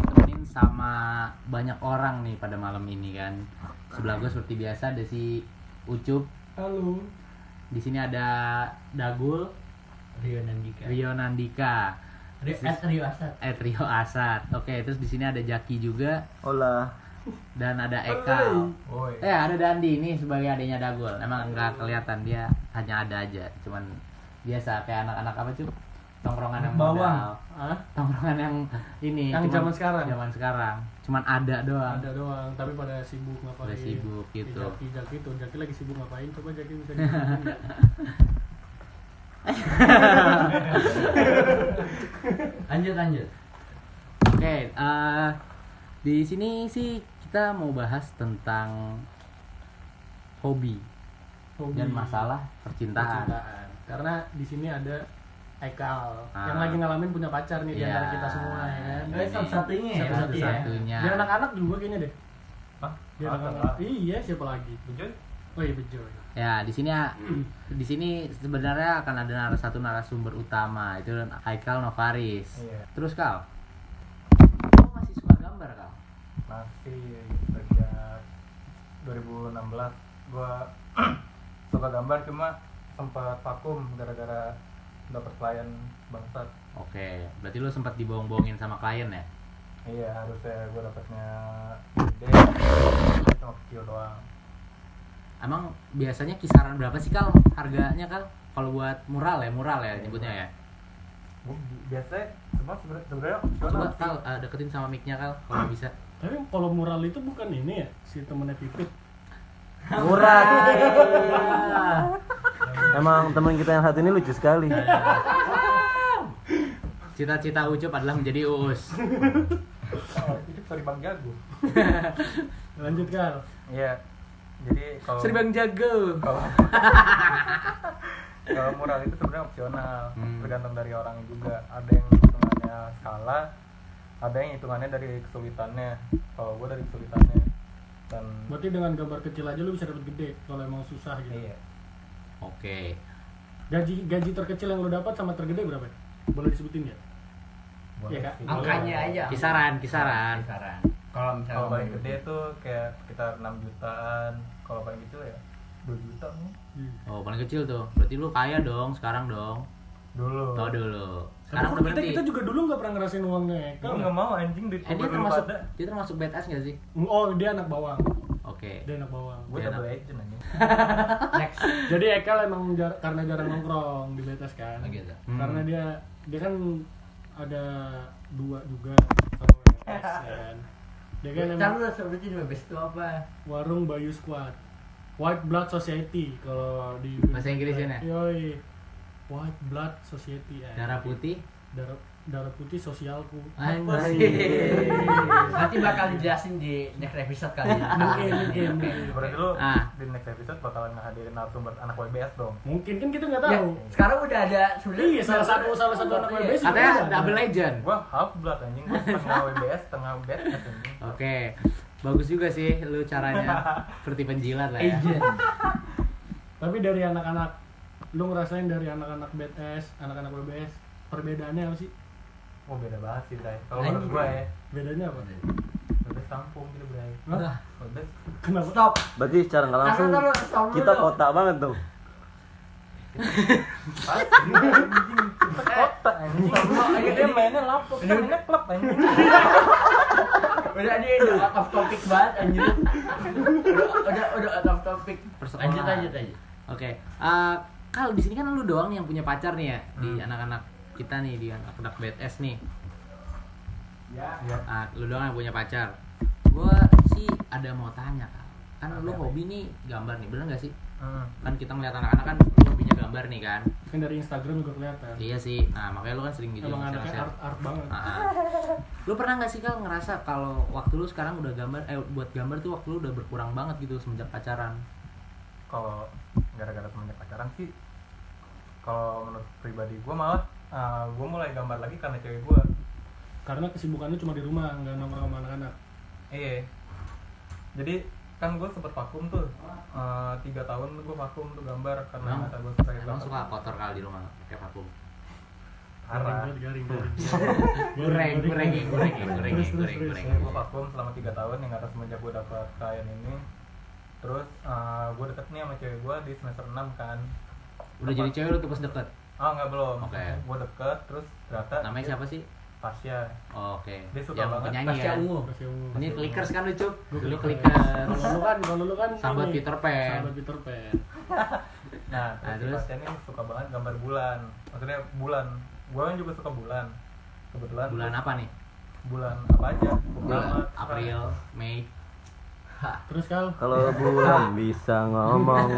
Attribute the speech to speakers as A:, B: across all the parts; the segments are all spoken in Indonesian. A: ditemenin sama banyak orang nih pada malam ini kan. Sebelah gue seperti biasa ada si Ucup.
B: Halo.
A: Di sini ada Dagul,
B: Rio Nandika.
A: Rio Nandika,
B: Rio, at Rio Asad.
A: eh Rio Asad. Oke, terus di sini ada Jaki juga
C: Hola.
A: dan ada Eka.
B: Oi.
A: Eh ada Dandi ini sebagai adiknya Dagul. Emang nggak kelihatan dia hanya ada aja. Cuman biasa kayak anak-anak apa cuy? Tongkrongan yang
B: Bawang.
A: modal. Tongkrongan yang ini.
B: Yang
A: cuman-
B: zaman sekarang?
A: Zaman sekarang. Cuman ada doang.
B: Ada Oh, iya. doang, tapi pada sibuk ngapain.
A: Udah sibuk gitu.
B: Jaki, Jaki tuh, Jaki lagi sibuk ngapain? Coba Jaki bisa dibilangin nggak?
C: Lanjut lanjut.
A: Oke, eh, di sini sih kita mau bahas tentang hobi,
B: Hobi.
A: dan masalah percintaan.
B: Percintaan. Karena di sini ada Ekal yang
A: Ah.
B: lagi ngalamin punya pacar nih di
A: Iya. Nah,
B: antara kita semua ya kan.
A: Ini
C: satu-satunya ya, berarti ya.
A: satu-satunya.
B: Dia anak-anak juga kayaknya deh.
C: Hah?
B: Dia
C: Ada,
B: anak-anak.
C: ada.
B: Iya, siapa lagi? Oh iya, Bejoy.
A: Ya, di sini di sini sebenarnya akan ada naras satu narasumber utama itu Haikal Novaris.
C: Iya.
A: Terus Kal. Kamu masih suka gambar, Kal?
C: Masih sejak 2016 gua suka gambar cuma sempat vakum gara-gara dapat klien bangsat.
A: Oke, berarti lu sempat dibohong-bohongin sama klien ya?
C: Iya, harusnya gua dapatnya gede cuma kecil doang.
A: Emang biasanya kisaran berapa sih Kal harganya Kal? Kalau buat mural ya, mural ya nyebutnya ya.
C: Gua bi- biasanya semua sebenarnya sebenarnya opsional.
A: Coba Kal eh, deketin sama mic-nya Kal kalau bisa.
B: Tapi kalau mural itu bukan ini ya, si temennya Pipit.
A: Murah.
D: Emang teman kita yang satu ini lucu sekali.
A: Iya. Cita-cita Ucup adalah menjadi Uus.
C: Oh, itu sorry Bang Jago.
B: Lanjut Kal.
C: Iya. Jadi kalau
A: Sri Bang Jago.
C: kalau kalau mural itu sebenarnya opsional
A: Hmm.
C: tergantung dari orangnya juga ada yang hitungannya skala ada yang hitungannya dari kesulitannya kalau gue dari kesulitannya dan
B: Berarti dengan gambar kecil aja lu bisa dapat gede kalau emang susah gitu.
C: iya
A: Oke.
B: Gaji gaji terkecil yang lu dapat sama tergede berapa? ya? Boleh disebutin nggak?
C: boleh
B: Iya, Kak.
C: sih.
B: Angkanya
C: Kalau-
A: Kisaran, kisaran.
D: Kalau
C: kalau
A: gitu.
C: paling gede itu kayak sekitar 6 jutaan kalau paling kecil ya 2 juta nih
A: Oh, paling kecil tuh. Berarti lu kaya dong sekarang dong.
C: dulu
A: Tahu dulu.
B: Tapi
A: Sekarang
B: kok
A: udah
B: kita,
A: berhenti.
B: kita juga dulu nggak pernah ngerasain uangnya
C: gue
B: Ekal.
C: nggak mau anjing duit
A: Eh, dia termasuk dia termasuk badass gak sih?
B: Oh dia anak bawang,
A: Oke.
B: dia anak bawang.
C: gue
A: Dia
C: double
A: enak.
C: agent anjing
B: Jadi Ekal emang jar- karena jarang nongkrong di Betes kan.
A: Lagi ada.
B: Karena dia dia kan ada dua juga sama Betes kan. Dia kan emang
D: sebetulnya best itu apa?
B: warung Bayu Squad. White Blood Society kalau di
A: Bahasa Inggrisnya, nah?
B: Yoi. White Blood Society. eh.
A: Darah putih. Ah, iya.
B: darah darah putih sosialku
A: Anjir.
D: Nanti bakal dijelasin di next episode kali ya.
B: Mungkin, mungkin,
D: Oke,
B: mungkin.
D: oke.
C: berarti lu
A: Ah.
C: di next episode bakalan ngehadirin narasumber anak YBS dong
B: mungkin kan kita nggak
D: Ya,
B: tahu
D: sekarang udah ada sudah.
B: Iya, salah satu- salah satu anak
D: Iya.
B: YBS.
A: Katanya double legend.
C: gua half blood anjing gua setengah WBS setengah bed anjing
D: Ah.
A: Oke. Bagus juga sih lu caranya. Seperti penjilat lah ya.
D: Agent.
B: tapi dari anak-anak lu ngerasain dari anak-anak BTS anak-anak WBS perbedaannya apa sih
C: oh beda banget sih Bray kalau menurut
D: Anjing.
C: gua ya
B: bedanya apa
A: Iya.
C: WBS kampung gitu Bray
B: Hah?
C: WBS
B: kenapa
D: Stop.
E: Berarti secara nggak langsung
D: Tahan dulu, stop dulu.
E: kita kota banget tuh.
C: pas anjing Kita kota anjing
D: Ini
C: dia mainnya laptop mainnya klub anjing
D: Udah dia udah out of topic banget anjir. Udah udah udah out of topic.
A: Persekolahan.
D: Lanjut lanjut aja.
A: Oke. Eh, Kal di sini kan lu doang yang punya pacar nih ya di anak-anak kita nih di anak-anak BTS nih.
C: ya
D: Ya.
C: Iya.
A: Ah, lu doang yang punya pacar. Gua sih ada mau tanya, Kal. kan lu hobi nih gambar nih bener gak sih
C: Hmm.
A: kan kita ngeliat anak-anak kan hobinya gambar nih kan
B: kan dari Instagram juga kelihatan
A: iya sih nah makanya lu kan sering video
B: emang
A: share-share.
B: anaknya art art banget
A: Ah. lu pernah nggak sih kal ngerasa kalau waktu lu sekarang udah gambar eh buat gambar tuh waktu lu udah berkurang banget gitu semenjak pacaran
C: kalau gara-gara semenjak pacaran sih kalau menurut pribadi gue malah gue mulai gambar lagi karena cewek gue
B: karena kesibukannya cuma di rumah nggak nongkrong sama anak-anak
C: iya jadi kan gue sempet vakum tuh Eh, tiga tahun gue vakum tuh gambar karena
A: Emang-
C: mata gue suka gambar
A: Nah. emang suka kotor kali di rumah pakai vakum
C: parah
B: garing garing garing
A: goreng goreng goreng goreng goreng
B: Terus, terus,
A: goreng
B: terus.
A: goreng
C: gue vakum selama tiga tahun yang atas semenjak gue dapet klien ini terus gue deket nih sama cewek gue di semester 6 kan
A: udah jadi cewek lu tuh pas deket
C: ah nggak belum
A: Oke.
C: gue deket terus ternyata
A: namanya siapa sih
C: Tasya
A: Oh, oke
C: Dia suka
A: yang
C: banget.
A: penyanyi
D: Pasca
A: ya
D: ungu.
A: ini clickers kan lu cuk dulu
B: kalau
A: clickers
B: lu kan kalau lu kan
A: Sahabat
B: ini,
A: Peter Pan.
B: sahabat Peter Pan
C: Nah,
A: Nah,
C: terus, si
A: terus?
C: Pasien ini suka banget gambar bulan. Maksudnya bulan. Gue kan juga suka bulan. Kebetulan
A: bulan apa nih
C: bulan apa aja?
A: bulan
C: Bulan
A: April Mei
B: terus kal eh,
E: Kalau bulan bisa ngomong.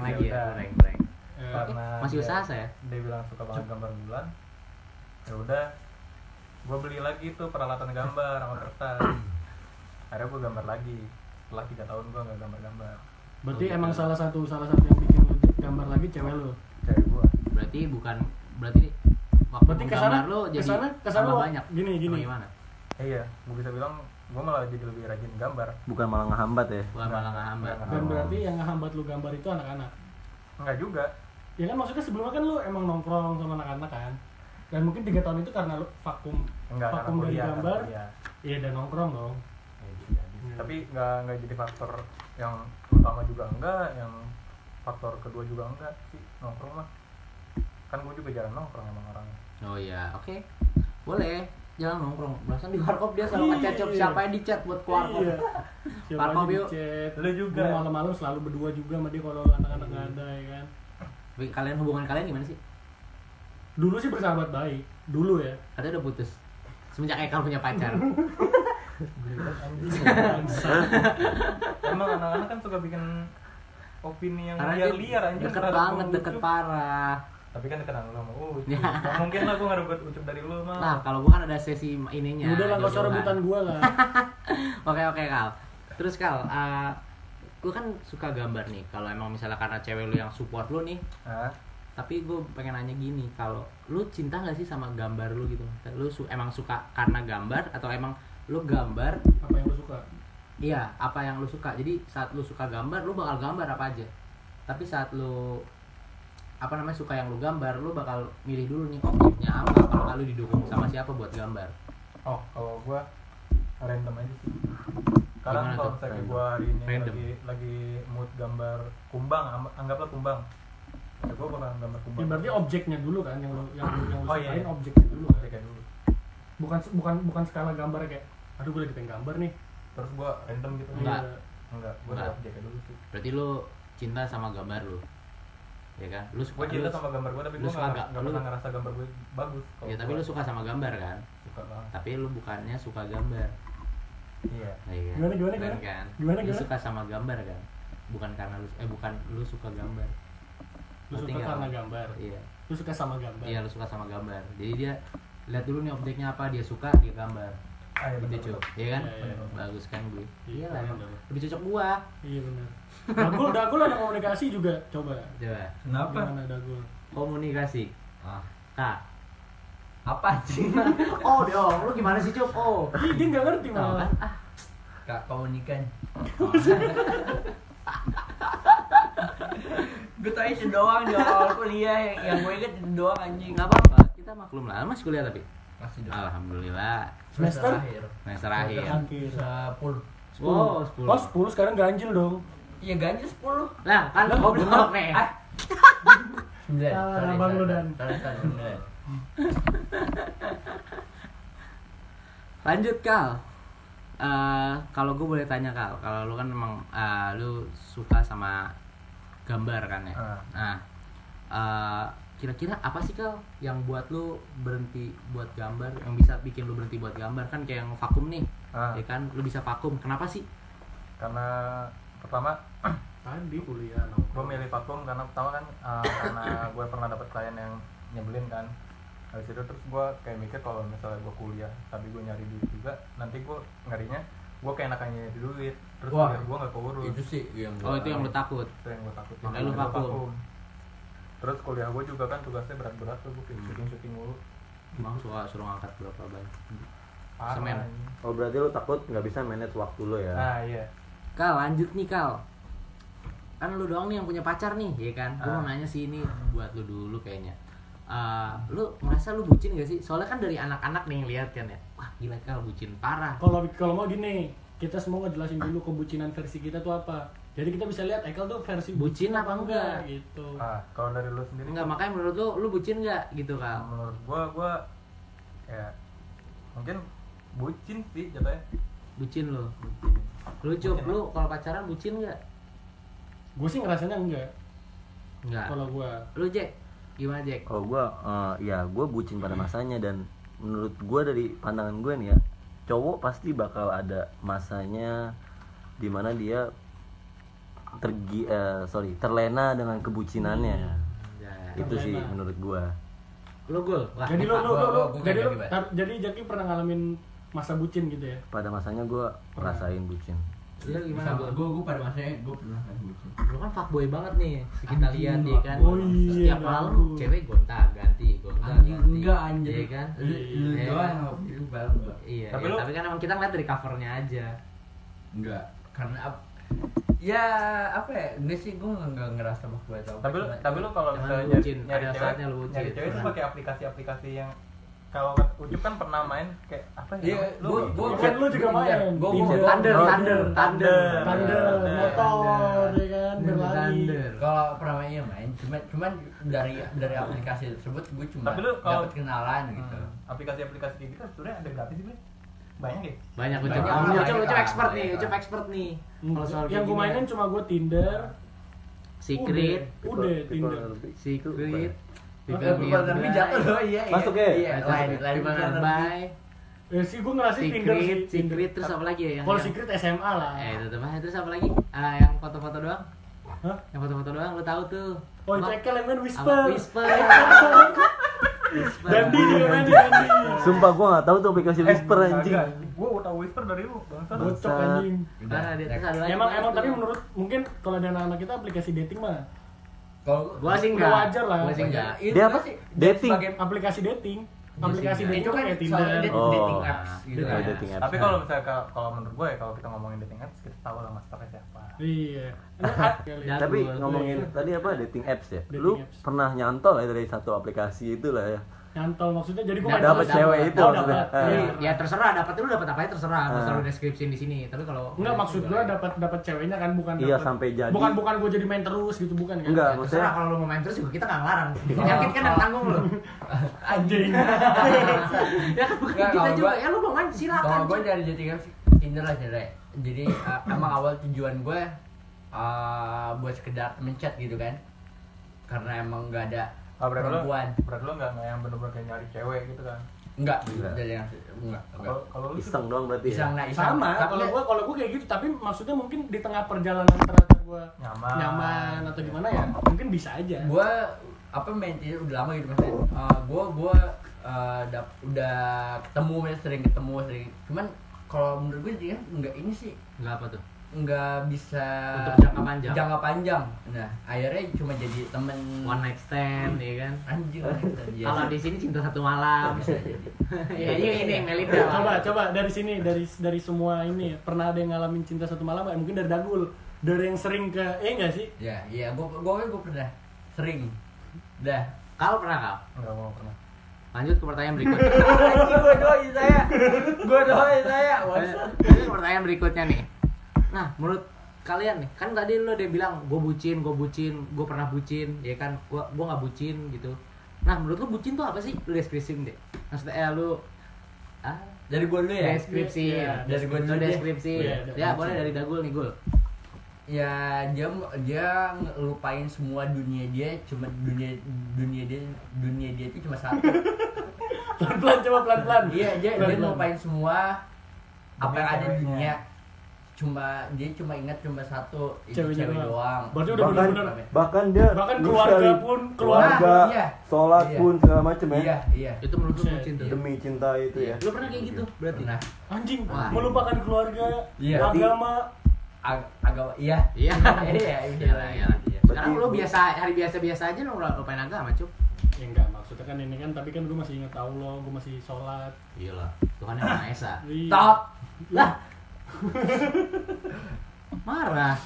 C: Goreng
A: lagi
C: ya
A: ya
C: udah.
A: goreng goreng
B: eh,
C: Karena
A: masih
C: dia-
A: usaha saya
C: Dia bilang suka banget gambar bulan. Ya udah, gue beli lagi tuh peralatan gambar sama kertas. Akhirnya gue gambar lagi. Setelah tiga tahun gue nggak gambar-gambar.
B: berarti emang salah satu salah satu yang bikin lu gambar lagi cewek lu
C: Cewek gue.
A: berarti bukan berarti waktu
B: berarti
A: gambar
B: kesana
A: lu jadi
B: kesana kesana
A: tambah
B: lu-
A: banyak Oh,
B: gini gini
A: gimana
C: iya, gue bisa bilang gue malah jadi lebih rajin gambar.
E: Bukan malah ngehambat ya.
A: bukan
B: Nah.
A: malah ngehambat
C: Nggak
B: dan berarti yang ngehambat lu gambar itu anak-anak
C: Enggak juga.
B: ya kan maksudnya sebelumnya kan lu emang nongkrong sama anak-anak kan dan mungkin tiga tahun itu karena lu vakum
C: Enggak karena
B: Vakum dari
C: kuliah, karena
B: gambar.
C: kuliah.
B: iya dan nongkrong dong Iya.
C: Hmm. tapi nggak nggak jadi faktor yang utama juga enggak yang faktor kedua juga enggak sih nongkrong mah kan gue juga jarang nongkrong emang orangnya
A: oh iya oke boleh jalan nongkrong berasa di warkop dia selalu
B: Iya.
A: ngececep siapa yang dicat buat ke warkop
B: iya siapa
A: Parkom
B: aja
A: yuk.
B: dicet
C: Lu juga.
B: Gua malam-malam selalu berdua juga sama dia kalau anak-anak
C: Iya.
B: nggak ada ya kan
A: Tapi kalian hubungan kalian gimana sih
B: dulu sih bersahabat baik dulu ya
A: katanya udah putus semenjak Eka punya pacar Iya,
C: emang anak-anak kan suka bikin opini yang
A: karena dia
C: liar-liar Iya, anjing
A: deket
C: terhadap
A: banget
C: lu,
A: deket
C: Ucup.
A: parah
C: tapi kan deket sama lu sama Ucup
A: Ya.
C: Nggak mungkin lah gue ngerebut ucup dari lu mah
A: lah Nah, kalau bukan ada sesi ininya
B: udah lah nggak usah
A: jodohan.
B: rebutan gua lah
A: Oke oke Kal. Terus Kal, eh gue kan suka gambar nih. Kalau emang misalnya karena cewek lu yang support lu nih,
C: Hah?
A: tapi gue pengen nanya gini, kalau lu cinta nggak sih sama gambar lu gitu? Lu su- emang suka karena gambar atau emang lu gambar?
B: apa yang lu suka Ya,
A: Iya, apa yang lu suka. Jadi saat lu suka gambar, lu bakal gambar apa aja. Tapi saat lu apa namanya suka yang lu gambar, lu bakal milih dulu nih objeknya apa, apakah lu didukung sama siapa buat gambar.
C: oh kalau gue random aja sih sekarang
A: Gimana
C: kalau
A: tuh?
C: misalnya
E: Random.
C: gue hari ini
A: Random.
C: lagi lagi mood gambar kumbang am- anggaplah kumbang ya gue bakal gambar
B: ya
C: kumbang
B: berarti objeknya dulu kan yang lu yang lu yang lu
C: Oh, iya.
B: sukain objeknya dulu kan
C: Tapi kayak dulu
B: bukan bukan bukan skala gambar kayak aduh gue lagi pengen gambar nih
C: terus gua random gitu
A: Enggak.
B: Iya.
C: enggak gua
A: Enggak.
C: dari objeknya dulu sih
A: Berarti lu cinta sama gambar lu. Ya kan? Lu suka
C: gua cinta
A: lu-
C: sama gambar gua tapi
A: lu
C: gua
A: suka
C: nggak
A: nggak?
C: nggak
A: Lu-
C: pernah ngerasa gambar gua bagus Kalau
A: Ya tapi
C: gua
A: lu suka sama gambar kan?
C: suka banget
A: Tapi lu bukannya suka gambar.
C: iya
A: Nah, iya.
B: Gimana, gimana,
A: Keren
B: gimana?
A: Kan?
B: Gimana,
A: Lu
B: gimana?
A: suka sama gambar kan? Bukan karena lu eh bukan lu suka gambar.
B: lu
A: Ngerti
B: suka
A: nggak?
B: karena gambar
A: Iya.
B: lu suka sama gambar
A: Iya lu suka sama gambar. Jadi dia lihat dulu nih objeknya apa dia suka dia gambar.
C: ah, iya, bener,
A: Gitu cuy.
C: bener.
A: Iya kan?
B: Iya, iya.
A: Bagus kan gue.
B: Iya,
A: Iya lah.
B: bener.
A: emang. Lebih cocok gua.
B: iya benar dagul dagul ada komunikasi juga coba
A: Coba.
C: kenapa
B: gimana dagul
A: Komunikasi.
D: Ah.
A: Kak.
D: Apa sih?
A: Oh, dong. Lu gimana sih, Cuk? Oh.
B: Ih, dia nggak ngerti
A: Tahu
B: malah
A: kan? Ah,
D: Kak komunikan. gue tau itu doang di awal kuliah yang, yang gue inget itu doang anjing.
A: enggak apa-apa. Kita maklum lah. Mas kuliah tapi.
D: Masih doang.
A: Alhamdulillah.
B: semester
D: Terakhir.
A: Semester akhir.
B: akhir
D: Sepuluh.
A: Wow, 10.
B: oh sepuluh sekarang ganjil dong
D: Iya ganjil sepuluh.
A: Lah, kan
B: Lah,
A: goblok nih.
D: Ah. Sembilan.
B: Salah
D: Sorry,
B: abang lu,
D: sorry,
B: Dan.
D: sorry, sorry, sembilan.
A: Lanjut, Kal. Eh, kalau gue boleh tanya Kal, kalau lu kan emang eh, lu suka sama gambar kan ya?
C: Ah.
A: Nah, eh, kira-kira apa sih Kal yang buat lu berhenti buat gambar, yang bisa bikin lu berhenti buat gambar kan kayak yang vakum nih,
C: ah,
A: ya kan? Lu bisa vakum, kenapa sih?
C: karena pertama
B: Tadi kuliah nongkrong.
C: gue milih vakum karena pertama kan eh, karena gue pernah dapet klien yang nyebelin kan habis itu terus gue kayak mikir kalau misalnya gue kuliah tapi gue nyari duit juga nanti gue ngarinya gue kayak nyakannya nyari duit terus
D: Wah.
C: gue nggak keurus
D: itu sih yang
A: Oh itu yang lu takut.
C: itu yang gue takutin
A: Makanya lu
C: Gua
A: vakum.
C: terus kuliah gue juga kan tugasnya berat-berat tuh gue syuting syuting mulu
A: Emang suka suruh ngangkat berapa banyak?
C: Parah,
A: Semen.
C: anjing.
E: Oh berarti lu takut nggak bisa manage waktu lu ya?
C: nah iya
A: Kal lanjut nih Kal. Kan lu doang nih yang punya pacar nih, ya kan? Gue mau
C: Ah.
A: nanya sih ini buat lu dulu kayaknya. Eh, lu merasa lu bucin gak sih? Soalnya kan dari anak-anak nih yang lihat kan ya. Wah gila Kal bucin parah.
B: Kalau kalau mau gini, kita semua ngejelasin dulu kebucinan versi kita tuh apa. Jadi kita bisa lihat Ekel tuh versi
A: Bucin apa enggak?
B: gitu.
C: ah kalau dari lu sendiri
A: Enggak makanya menurut lu lu bucin nggak gitu Kal?
C: menurut gue gue ya mungkin bucin sih jatuhnya
A: Bucin lu.
C: bucin
A: Lu cup
C: Bucin.
A: lu kalau pacaran bucin nggak?
B: Gue sih ngerasanya enggak.
A: Enggak.
B: Kalau gue
A: Lu Jack gimana Jack?
E: Kalau gua eh, ya gua bucin pada masanya dan menurut gua dari pandangan gua nih ya, cowok pasti bakal ada masanya dimana dia tergi eh, sorry terlena dengan kebucinannya.
A: Ya.
E: Itu sih
B: Terlena.
E: menurut gua.
A: Lu gul. Wah,
B: jadi lu
A: Pak.
B: lu lu,
D: gua-
B: lu-
D: gua- gua
B: jadi
D: kayak
B: lu
D: Jaki, Pak.
B: tar- jadi Jaki pernah ngalamin masa bucin gitu ya.
E: Pada masanya gua rasain bucin.
A: Lu Iya, gimana Gul?
D: gue gue pada masanya gue pernah kan bucin
A: lu kan fuckboy banget nih kita lihat ya kan
C: Oh,
B: fuckboy. Iya,
A: setiap malam
B: bagus.
A: cewek gonta ganti gonta
D: anjing
A: ganti
D: enggak
A: Iya
D: anjing
A: kan
D: lu lu
A: Iya.
D: doang itu baru gua.
A: iya
C: Tapi
A: iya.
C: lu-
A: tapi kan emang kita ngeliat dari covernya aja
D: enggak karena ap- ya apa ya enggak sih gue nggak ngerasa bahwa gue tau
C: tapi lu tapi lu kalau
A: Emang
C: misalnya
A: lu
C: nyari,
A: bucin,
C: nyari
A: Nah, ada
C: cewek
A: saatnya lu bucin.
C: nyari cewek itu
A: Pernah.
C: pakai aplikasi-aplikasi yang kalau ucup kan pernah main kayak apa ya
D: Iya,
C: namanya?
D: gua- gua-
C: Iya,
B: Kan lu juga main.
D: Gua- gua-
B: Tinder.
A: thunder
E: Oh,
A: thunder
E: iya.
A: thunder
B: Thunder,
E: Thunder.
B: motor, ya kan, berlari.
A: thunder
D: kalau pernah main, ya main cuman cuman dari dari aplikasi tersebut gue cuma
C: Tapi lu kalau-
D: dapat kenalan gitu
C: Hmm, aplikasi-aplikasi kayak gitu kan sebenarnya ada gratis sih Bre. banyak ya
A: banyak ucup banyak,
D: Banyak, banyak,
A: ucup ucup
D: banyak.
A: expert nih
D: Banyak.
A: ucup expert nih kalau soal
B: Yang
A: kayak
B: gue
A: gini.
B: mainin cuma gue Tinder,
D: Oh,
A: secret
B: udah,
D: iya.
B: udah
E: People-
B: Tinder.
E: people lebih-
A: secret
D: People Derby jatuh loh iya iya.
E: Masuk ya?
D: iya
A: Masuk
D: lain lain
A: People
D: People
A: and
D: Derby.
A: Bye,
B: Eh sih gue ngerasain Tinder sih.
A: secret
B: Tinder.
A: secret terus apa lagi ya yang
B: Kalau
A: yang-
B: secret SMA lah.
A: Eh, itu tuh, Mas. terus apa lagi? Ah, yang foto-foto doang?
B: Hah?
A: Yang foto-foto doang lu tahu tuh.
B: Oh,
A: Apa-
B: cekel yang main
A: apa?
B: whisper.
A: Whisper. Whisper.
B: Dandi juga main di Dandi.
E: Sumpah gua nggak tahu tuh aplikasi whisper anjing.
C: Kagak. gua tau whisper dari lu bangsa
B: Bocok
E: Bangsat.
B: anjing.
A: Parah, dia terus ada lagi
B: Emang
A: apa
B: emang
A: tuh?
B: tapi menurut mungkin kalau ada anak-anak kita aplikasi dating mah
D: Kalau
A: gua sih
B: Udah
A: enggak.
B: wajar lah.
A: Gua sih enggak.
D: Iya,
E: Dia
D: gua
E: apa?
D: sih-
E: Dating.
D: sebagai-
B: aplikasi dating, aplikasi
A: Iya sih,
B: dating
D: itu kan
B: kayak
D: soalnya
B: Tinder.
D: dia
E: Oh.
D: dating apps gitu
E: Oh,
D: kan.
E: dating apps.
C: tapi kalau misalnya kalau- kalau menurut gue ya kalau kita ngomongin dating apps kita tahu lah masternya siapa
B: Iya. Enak kali.
A: Dan-
E: Tapi
A: Gua-
E: ngomongin tadi apa dating apps ya?
B: Dating
E: Lu
B: apps.
E: pernah nyantol ya dari satu aplikasi itulah ya.
B: Nyantol maksudnya jadi gue
A: Dapet
E: Dapat
A: Dapet,
E: cewek itu
B: dapet.
E: maksudnya.
B: Dapet.
E: Eh.
B: Iya.
A: Ya terserah dapat lu dapat apa ya terserah. Enggak
E: Ah.
A: selalu deskripsiin di sini. Tapi kalau Ya,
B: Enggak maksud gue dapat dapat ceweknya kan bukan
E: Iya,
B: dapet-
E: sampai jadi.
B: Bukan bukan gue jadi main terus gitu bukan kan.
E: Enggak,
A: Ya, terserah
E: maksudnya
A: kalau lu mau main terus juga kita enggak ngelarang. Penyakit kan yang tanggung lu.
D: Anjing.
A: Ya kan bukan
D: Nggak,
A: kita
D: kalau
A: juga.
D: gua-
A: Ya lu mau main silakan.
D: Kalau gue
A: cuy.
D: dari dating apps Tinder lah cerai. Jadi eh, emang awal tujuan gue eh, buat sekedar mencet gitu kan. Karena emang nggak ada
C: ah, berarti lu
D: perempuan.
C: berarti lu nggak nggak yang bener-bener kayak nyari cewek gitu kan
D: Enggak,
E: Enggak.
D: dari yang enggak. enggak.
C: kalau kalau lu sih
E: iseng doang berarti ya.
A: Iya.
D: Iseng nah, iseng.
B: sama
D: Tapi
B: kalau gue kalau gue kayak gitu tapi maksudnya mungkin di tengah perjalanan ternyata gue
C: nyaman
B: nyaman atau gimana ya mungkin bisa aja
D: gue apa main Tinder udah lama gitu maksudnya. Eh, gue gue eh, dap- udah ketemu sering ketemu sering. Cuman kalau menurut gue dia enggak ini sih
A: Enggak apa tuh.
D: nggak bisa
A: Untuk jangka panjang.
D: jangka panjang. Nah, akhirnya cuma jadi temen
A: One night stand
B: Hmm.
A: ya kan.
D: anjing. gitu,
B: Iya
A: Kalau di sini cinta satu malam. Ya ini ini Melinda.
B: Iya, coba coba dari sini dari dari semua ini pernah ada yang ngalamin cinta satu malam nggak? mungkin dari Dagul dari yang sering ke eh enggak sih
D: Ya, ya, gua gua gua pernah sering. Dah.
A: Kal pernah kal?
C: nggak mau pernah
A: Lanjut ke pertanyaan berikutnya.
D: Anjing gua doain saya. Gua doain saya.
A: Lanjut ke pertanyaan berikutnya nih. Nah, menurut kalian nih, kan tadi lo udah bilang gue bucin, gue bucin, gue pernah bucin, ya kan? Gue gue nggak bucin gitu. Nah, menurut lo bucin tuh apa sih? Lo deskripsiin deh. Maksudnya eh, lo ah,
D: Dari gua dulu ya.
A: deskripsi,
B: Iya,
D: dari gua
A: lo
D: dulu deh.
A: deskripsi.
B: Iya,
A: Ya
B: bucin.
A: boleh dari Dagul nih Gul.
D: Ya, dia dia ngelupain semua dunia dia, cuma dunia dunia dia dunia dia itu cuma satu.
B: pelan pelan coba pelan pelan
D: Iya, dia dia
B: Pelan-pelan.
D: ngelupain semua apa yang ada di dunia cuma dia cuma ingat cuma satu itu
B: Ceweknya
D: cewek
B: doang.
D: doang
B: Berarti udah
E: bahkan
B: bener-bener
E: bahkan dia
B: Bahkan
E: lu
B: keluarga
E: sekali-
B: pun,
E: keluarga
D: keluarga, iya.
E: sholat
D: Iya.
E: pun segala macem ya
D: iya iya
A: itu menurut lu
B: Buset,
A: cinta
E: demi cinta itu ya
A: lu pernah kayak gitu berarti
D: pernah
B: anjing
D: Wah.
B: melupakan keluarga,
D: Iya.
B: agama,
D: Ag- agak iya
A: iya
D: iya iya
A: Iyalah,
D: iya
A: iyalah. sekarang
E: Berarti-
A: lu biasa hari biasa biasa aja lu lupain agama cuk
B: ya enggak maksudnya kan ini kan tapi kan gue masih inget Allah gue masih sholat
A: iyalah Tuhan yang maha esa
B: Iya.
D: top
A: marah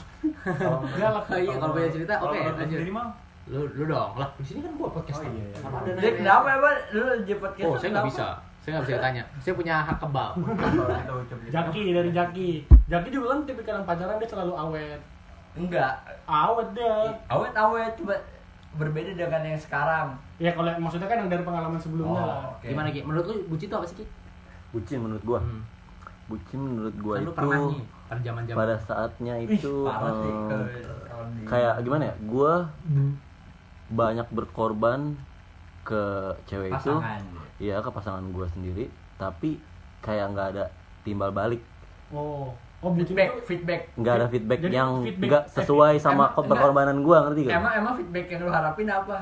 C: Kalau
B: galak
A: iya kalau punya cerita
C: kalau
A: oke
C: menurut lu
A: lanjut
C: sendiri mah
A: lu lu dong lah di sini kan gua podcast
C: Oh, iya, iya.
A: Apa ada
D: dia
A: nanya?
D: kenapa ya Bang? lu jepet gitu
A: oh saya nggak bisa saya nggak bisa tanya saya punya hak kebal
C: kalau kita ucap gitu.
B: Jaki dari Jaki Jaki juga kan tipikal yang pacaran dia selalu awet
D: enggak
B: awet dia
D: awet awet coba berbeda dengan yang sekarang Oh,
B: ya kalau maksudnya kan yang dari pengalaman sebelumnya
E: Oh,
B: lah
D: oke.
A: gimana Ki? menurut lu bucin itu apa sih Ki?
E: bucin menurut gua
A: Hmm.
E: bucin menurut gua
A: kan lu
E: itu
A: pernah nih pada zaman zaman
E: pada oh, saatnya
D: Ih,
A: gitu?
E: itu
D: parah sih
E: eh,
D: kalau- kalau di-
E: kayak gimana ya gue banyak berkorban ke cewek
D: pasangan
E: itu ya ke pasangan gue sendiri tapi kayak nggak ada timbal balik
B: oh oh bucin
D: feedback
B: itu
D: feedback
E: nggak ada feedback
B: Jadi
E: yang
B: feedback-
A: eh,
E: nggak sesuai sama
D: emang-
E: ko- perkorbanan gue ngerti gak?
D: emang emang feedback yang lu harapin apa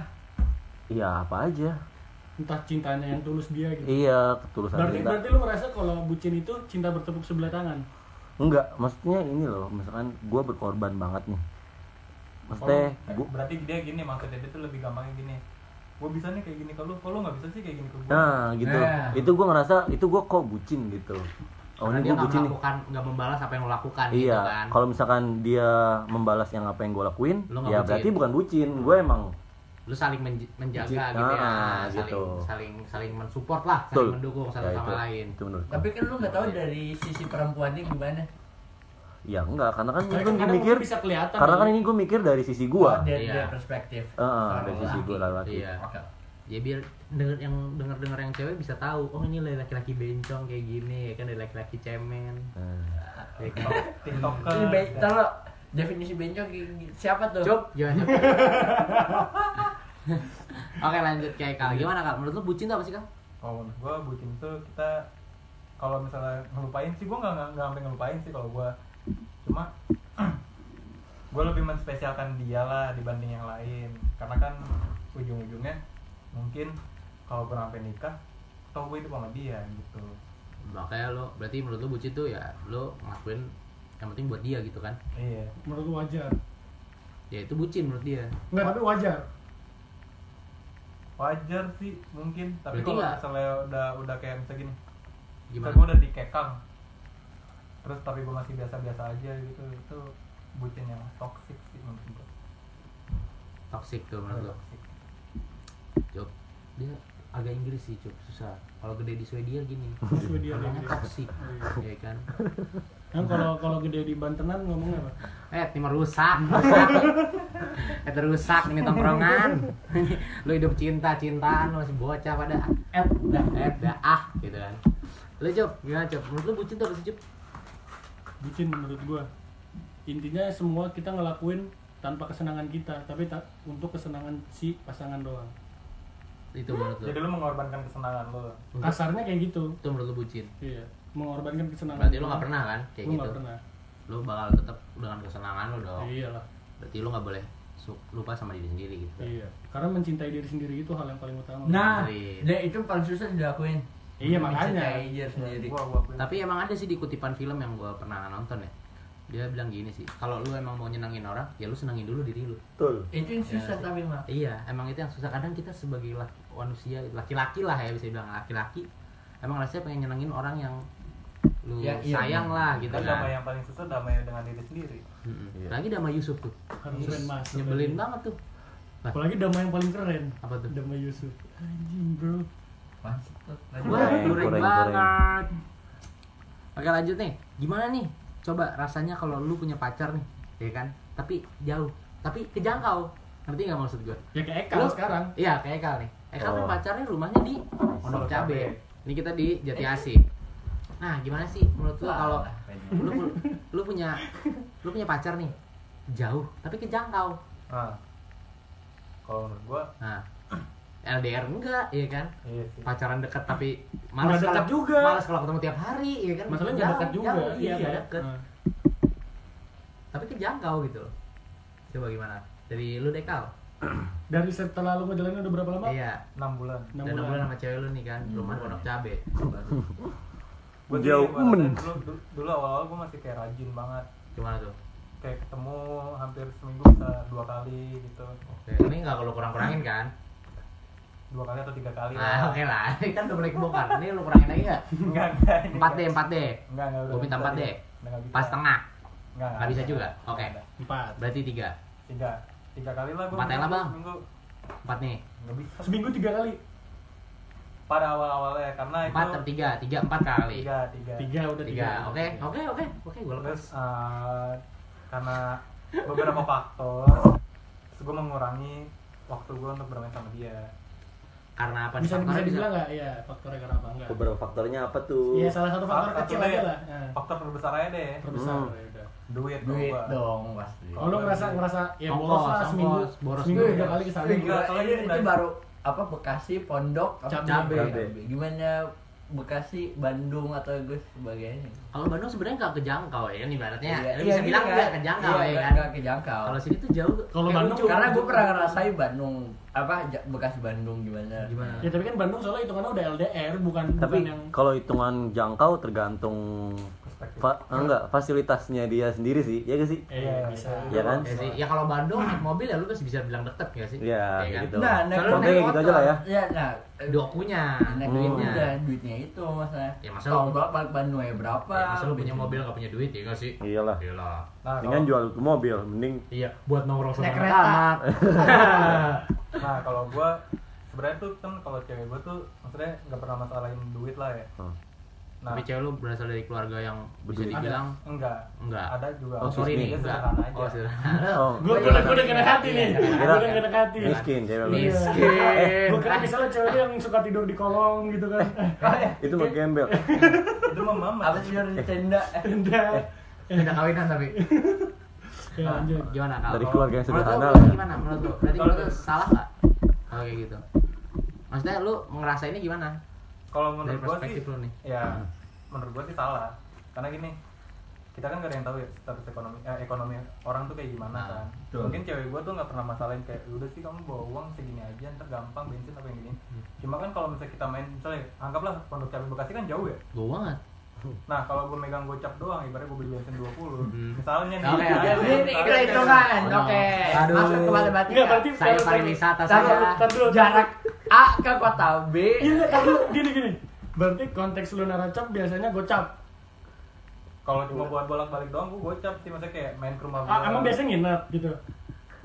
E: Iya apa aja
B: entah cintanya yang tulus dia gitu
E: iya ketulusan
B: berarti
E: cinta
B: berarti lu merasa kalau bucin itu cinta bertepuk sebelah tangan
E: enggak maksudnya ini loh misalkan gue berkorban banget nih maksudnya
C: Oh,
E: gua-
C: berarti dia gini maksudnya dia tuh lebih gampangnya gini gue bisa nih kayak gini ke lu kalau nggak bisa sih kayak gini ke gue
E: nah gitu
D: Nah.
E: itu gue ngerasa itu gue kok bucin gitu oh
A: karena
E: ini
A: dia
E: gue
A: nggak
E: bucin nih
A: melakukan nggak membalas apa yang lo lakukan gitu
E: Iya,
A: kan
E: kalau misalkan dia membalas yang apa yang gue lakuin,
A: Lu nggak
E: ya
A: bucin.
E: berarti bukan bucin, gue emang
A: lu saling menj- menjaga
E: Ji-
A: gitu ya
E: ah,
A: saling
E: gitu.
A: saling saling mensupport lah saling
E: Betul.
A: mendukung satu
E: Ya,
A: sama
E: itu.
A: lain
E: itu menurut.
D: tapi kan lu nggak tahu
E: Iya.
D: dari sisi perempuannya gimana
E: Ya enggak, karena kan ini kan gue
B: kadang
E: mikir,
B: mungkin bisa kelihatan
E: karena kan
B: ya.
E: ini gue mikir dari sisi gue,
D: Oh, dari,
A: Iya.
D: dari perspektif
E: Heeh,
D: Kalau
E: dari
D: laki.
E: sisi gue laki.
A: iya ya biar denger yang denger denger yang cewek bisa tahu oh ini laki-laki bencong kayak gini ya kan dari laki-laki cemen
E: Nah,
A: ya kan
C: tiktoker
D: Ini be- ntar lo, definisi bencong kayak gini. siapa tuh
A: Cuk, gimana? Cuk? Oke lanjut kayak kal, gimana kal? Menurut lu bucin tuh apa sih kal?
C: kalau menurut gue bucin tuh kita kalau misalnya ngelupain sih gue nggak nggak nggak sampai ngelupain sih kalau gue cuma gue lebih menspesialkan dia lah dibanding yang lain karena kan ujung-ujungnya mungkin kalau gue sampai nikah tau gue itu sama dia gitu
A: Makanya lo, berarti menurut Nah, lu bucin tuh ya lo ngelakuin yang penting buat dia gitu kan?
C: iya
B: menurut lu wajar
A: Ya
B: Iya.
A: itu bucin menurut dia.
B: enggak tapi wajar
C: wajar sih mungkin tapi
A: Berarti
C: kalau
A: nggak-
C: misalnya udah udah kayak misalnya gini
A: Gimana?
C: gue udah dikekang terus tapi gue masih biasa-biasa aja gitu itu bucin yang toxic sih mungkin gua.
A: Toxic tuh menurut lo.
C: Toxic.
A: Cuk, dia agak Inggris sih cuk susah. Kalau gede di Swedia gini,
B: sesuai dia dia
A: namanya
B: gitu.
A: toxic, ya kan?
B: kan kalau kalau gede di Bantenan ngomongnya apa
A: Eh, ini mah rusak. rusak. Eh, rusak ini tongkrongan. lu hidup cinta-cintaan lu masih bocah pada eh dah eh dah ah gitu kan. Lu Cup, gimana Cup? Menurut lu bucin tuh apa sih Cup?
B: bucin menurut gua intinya semua kita ngelakuin tanpa kesenangan kita tapi tak untuk kesenangan si pasangan doang
A: Itu menurut lu.
C: jadi lu mengorbankan kesenangan lu
B: kasarnya kayak gitu
A: Itu menurut lu bucin.
B: iya mengorbankan kesenangan
A: Berarti lu
B: doang.
A: gak pernah kan kayak gitu.
B: Gua
A: Oh.
B: nggak pernah
A: Lu bakal tetap dengan kesenangan lu dong.
B: iya lah
A: Berarti lu gak boleh su- lupa sama diri sendiri gitu.
B: iya karena mencintai diri sendiri itu hal yang paling utama
D: nah
A: Dari-
D: dan itu paling susah dilakuin
B: Iya, makanya.
D: Mencintai diri sendiri
C: gua gua akuin.
A: Tapi emang ada sih di kutipan film yang gua pernah nonton ya. Dia bilang gini sih, kalau lu emang mau nyenangin orang, ya lu senangin dulu diri lu.
E: betul.
D: itu yang susah
A: Ya.
D: tapi mah
A: Iya, emang itu yang susah. Kadang kita sebagai laki, manusia, laki-laki lah ya bisa bilang laki-laki, emang rasanya pengen nyenengin orang yang lu
D: Ya, iya.
A: sayang lah gitu
C: kita damai
A: kan.
C: yang paling susah damai dengan diri sendiri
A: Mm-mm.
E: Iya.
A: Lagi damai Yusuf tuh,
B: harus keren mas
A: nyebelin banget tuh.
B: apalagi damai yang paling keren
A: Apa tuh?
B: damai Yusuf anjing bro
D: Masuk tuh. Lanjut.
A: Wah,
E: Goreng,
A: goreng
E: goreng,
A: banget. Oke lanjut nih, gimana nih? Coba rasanya kalau lu punya pacar nih, ya kan? Tapi jauh, tapi kejangkau. Ngerti nggak maksud gue?
B: ya kayak Eka
A: Lu-
B: sekarang
A: Iya, kayak Ekal nih. Ekal kan
E: Oh.
A: pacarnya rumahnya di Pondok
C: Pondok
A: Cabe.
C: Cabe.
A: Ini kita di Jati Asih. Nah, gimana sih menurut lu
D: Wah,
A: kalau
D: lah, pengen.
A: lu, pu- lu punya lu punya pacar nih jauh tapi kejangkau.
C: nah kalau menurut gua
A: Nah, LDR enggak, iya kan?
C: iya sih
A: Pacaran dekat tapi
B: Nggak
A: malas
B: dekat
A: kalau
B: juga.
A: malas kalau ketemu tiap hari, iya kan?
B: masalahnya nggak
A: Jauh,
B: dekat juga Iya,
A: jauh, iya, nggak dekat.
B: Nah,
A: tapi kejangkau gitu loh coba gimana dari lu deh kal
B: Dari setelah lu ngejalanin udah berapa lama?
A: iya
C: 6 bulan
B: Enam
A: dan enam bulan sama cewek lu nih kan rumah pondok cabe
C: Gua tuh
E: Jauh,
C: ibaratnya
E: men.
C: dulu, dulu, dulu awal-awal gue masih kayak rajin banget
A: gimana tuh
C: kayak ketemu hampir seminggu bisa dua kali gitu
A: Oke, ini nggak perlu kurang-kurangin kan
C: dua kali atau tiga
B: Iya.
C: kali
A: ah oke lah ini kan udah mulai kebongkar ini lu kurangin lagi nggak
C: enggak enggak ini
A: empat d
C: enggak.
A: empat d
C: enggak enggak
A: Gua minta empat deh.
C: enggak bisa
A: pas tengah
C: enggak
A: nggak bisa juga oke
C: Enggak.
B: Empat.
A: berarti tiga
C: tiga tiga kali lah gue
A: Empat ya lah, Bang.
C: seminggu
A: empat nih
C: enggak bisa
B: Seminggu tiga kali.
C: pada awal-awalnya karena
A: empat
C: itu
A: atau tiga tiga empat kali
C: tiga tiga
B: Tiga udah tiga.
A: tiga oke oke oke oke gue lepas
C: terus eh, karena beberapa faktor terus gue mengurangi waktu gue untuk bermain sama dia
A: karena apa nih?
B: Bisa bisa
A: Faktornya
B: dibilang nggak? Iya faktornya karena apa enggak?
E: Beberapa faktornya apa tuh?
B: Iya salah satu faktor
C: Faktor
B: kecil
C: deh.
B: aja lah. Nah,
C: faktor terbesar aja deh
B: Terbesar
E: Hmm.
B: ya udah.
C: duit,
D: duit
C: gua.
D: dong pasti
E: Iya.
B: Kalau lu ngerasa ngerasa ya
A: Ongkos,
B: boros lah
A: ongkos,
B: seminggu.
A: boros
B: Seminggu
D: juga.
B: udah kali kesana.
D: Wih, gila,
C: Soalnya
D: ini, itu
C: dari-
D: baru apa Bekasi, Pondok, apa,
B: Cabe.
D: Cabe.
E: Cabe.
D: Gimana Bekasi, Bandung atau gue sebagainya?
A: kalau Bandung sebenarnya nggak kejangkau ya kan ibaratnya
D: Iya,
A: lu
D: iya,
A: bisa
D: gitu
A: bilang
D: kan.
A: nggak kejangkau
D: Iya,
A: ya
D: nggak-
A: kan
D: nggak kejangkau.
A: kalau kan sini tuh jauh
B: Kalau
A: kayak
B: Bandung-
A: lucu.
D: Karena gue pernah ngerasain Bandung apa Ja- Bekasi Bandung gimana?
A: gimana
B: Ya tapi kan Bandung soalnya hitungannya udah LDR bukan
E: Tapi
B: bukan yang
E: kalau hitungan jangkau tergantung
C: Perspektif.
E: fa- enggak fasilitasnya dia sendiri sih, ya gak sih?
B: eh
C: Iya,
B: bisa.
E: Iya kan?
A: ya sih ya kalau Bandung naik mobil ya lu masih bisa bilang deket nggak sih
E: Iya,
A: Ya
E: kayak
A: kan?
E: gitu.
D: Nah, naik
A: Soalnya
E: Contohnya
A: naik
E: kayak gitu aja lah ya.
D: Ya, nah, eh,
A: dokunya
D: naik
E: Hmm.
A: Oh.
D: duitnya, udah, duitnya itu masalah.
A: Ya, masa
D: Kalau
A: lu-
D: bolak balik Bandung ya berapa?
A: ya, masa lu punya mobil nggak punya duit ya nggak sih
E: Iyalah.
A: Iyalah.
C: nah,
E: Dengan
C: kalau-
E: jual ke mobil, mending
A: iya buat nongkrong sama
D: Naik
A: anak
D: kereta.
A: anak
C: nah kalau gue sebenarnya tuh kan kalau cewek gue tuh maksudnya nggak pernah masalahin duit lah ya
E: Hmm.
C: nah
A: tapi cewek lu berasal dari keluarga yang bisa
E: Betul.
C: ada.
A: dibilang
C: enggak
A: enggak
C: ada juga
E: Oh,
A: sorry nih
C: Dia
A: enggak
C: sederhana aja
A: oh sederhana
E: oh,
B: Gue udah gue udah kena hati nih. Gue
E: Kira-
B: udah kena hati.
E: iya. miskin cewek lu.
A: miskin
B: Gue kira misalnya cewek dia yang suka tidur di kolong gitu kan.
E: Itu mah gembel.
C: itu mah mama
D: apa sih dari tenda?
B: Tenda.
A: tidak kawinan tapi
B: Ya
A: Nah,
B: lanjut.
A: gimana kalau
E: Dari keluarga yang
A: menurut lu-
E: sederhana
A: menurut lu
E: lah.
A: gimana menurut lu berarti
C: Kalau
A: menurut lu salah nggak kalau kayak gitu maksudnya lu ngerasainnya gimana
C: kalau menurut
A: dari
C: gue sih
A: perspektif lu nih
C: ya menurut gue sih salah karena gini kita kan gak ada yang tahu ya status ekonomi eh, ekonomi orang tuh kayak gimana
A: Nah,
C: kan
D: betul.
C: mungkin cewek gue tuh nggak pernah masalahin kayak "Ya udah sih kamu bawa uang segini aja ntar gampang bensin apa yang gini cuma kan kalau misalnya kita main misalnya anggaplah pondok cabe bekasi kan jauh ya
A: gue banget
C: nah kalau gue megang gocap doang ibaratnya gue beli bensin 20
A: Hmm.
C: misalnya nih
A: Oke,
C: ya,
A: iya. oke.
C: ya,
D: Ini
C: misalnya
D: kita
C: kayak-
D: hitungan,
A: Oh, no.
D: oke.
A: Aduh.
D: Masuk ke matematika.
B: Enggak berarti
A: saya
B: tar- tar-
A: pariwisata
B: tar-
A: saya
B: tar dulu, tar-
D: jarak A ke kota B.
B: Iya enggak tahu gini gini. Berarti konteks lu naracap biasanya gocap.
C: kalau cuma buat bolak balik doang gue gocap sih maksudnya kayak main ke rumah Iya, gue
B: Ah, emang biasanya nginep gitu.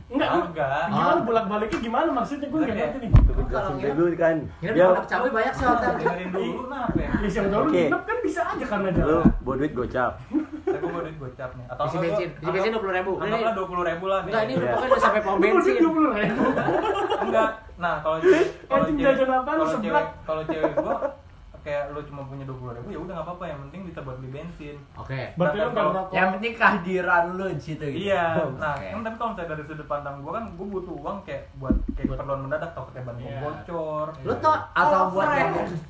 B: Enggak, lu
C: Enggak.
B: Gimana bolak-baliknya gimana maksudnya gue enggak
C: Ah, Oke.
B: ngerti nih.
E: Itu jelasin deh dulu kan.
A: Kira
E: Ya,
A: ya. anak cabai banyak sih hotel
C: dengerin dulu kenapa ya
B: Ya siapa tahu lu
E: Oke.
B: nginep kan bisa aja karena
E: lu
B: jalan.
E: bawa duit gocap.
C: saya gue duit gocap nih atau
A: Isi bensin, isi bensin 20.000. Ini-
C: anggaplah dua puluh ribu lah nih
A: Enggak, ini udah
E: Iya.
A: pokoknya udah sampai pom bensin.
B: Lu mau duit 20.000.
C: enggak nah kalau cewek kalau
B: Anjing
C: cewek
B: jajan apaan lu
C: kalau
B: seblak?
C: cewek kalau cewek gua kayak lu cuma punya dua puluh ribu ya udah nggak apa-apa yang penting bisa buat beli bensin
A: Oke.
B: Berarti
C: Nah,
B: lu enggak
C: kalau-
B: ngerokok.
D: Yang penting kehadiran lu di situ gitu.
C: iya
D: Oke.
C: nah kan tapi kalau misalnya dari sudut pandang gua kan gua butuh uang kayak buat kayak
B: Buat-
C: keperluan mendadak takutnya ban gua
B: Iya.
C: bocor
A: Lu tuh
D: atau buat
A: yang
D: yang-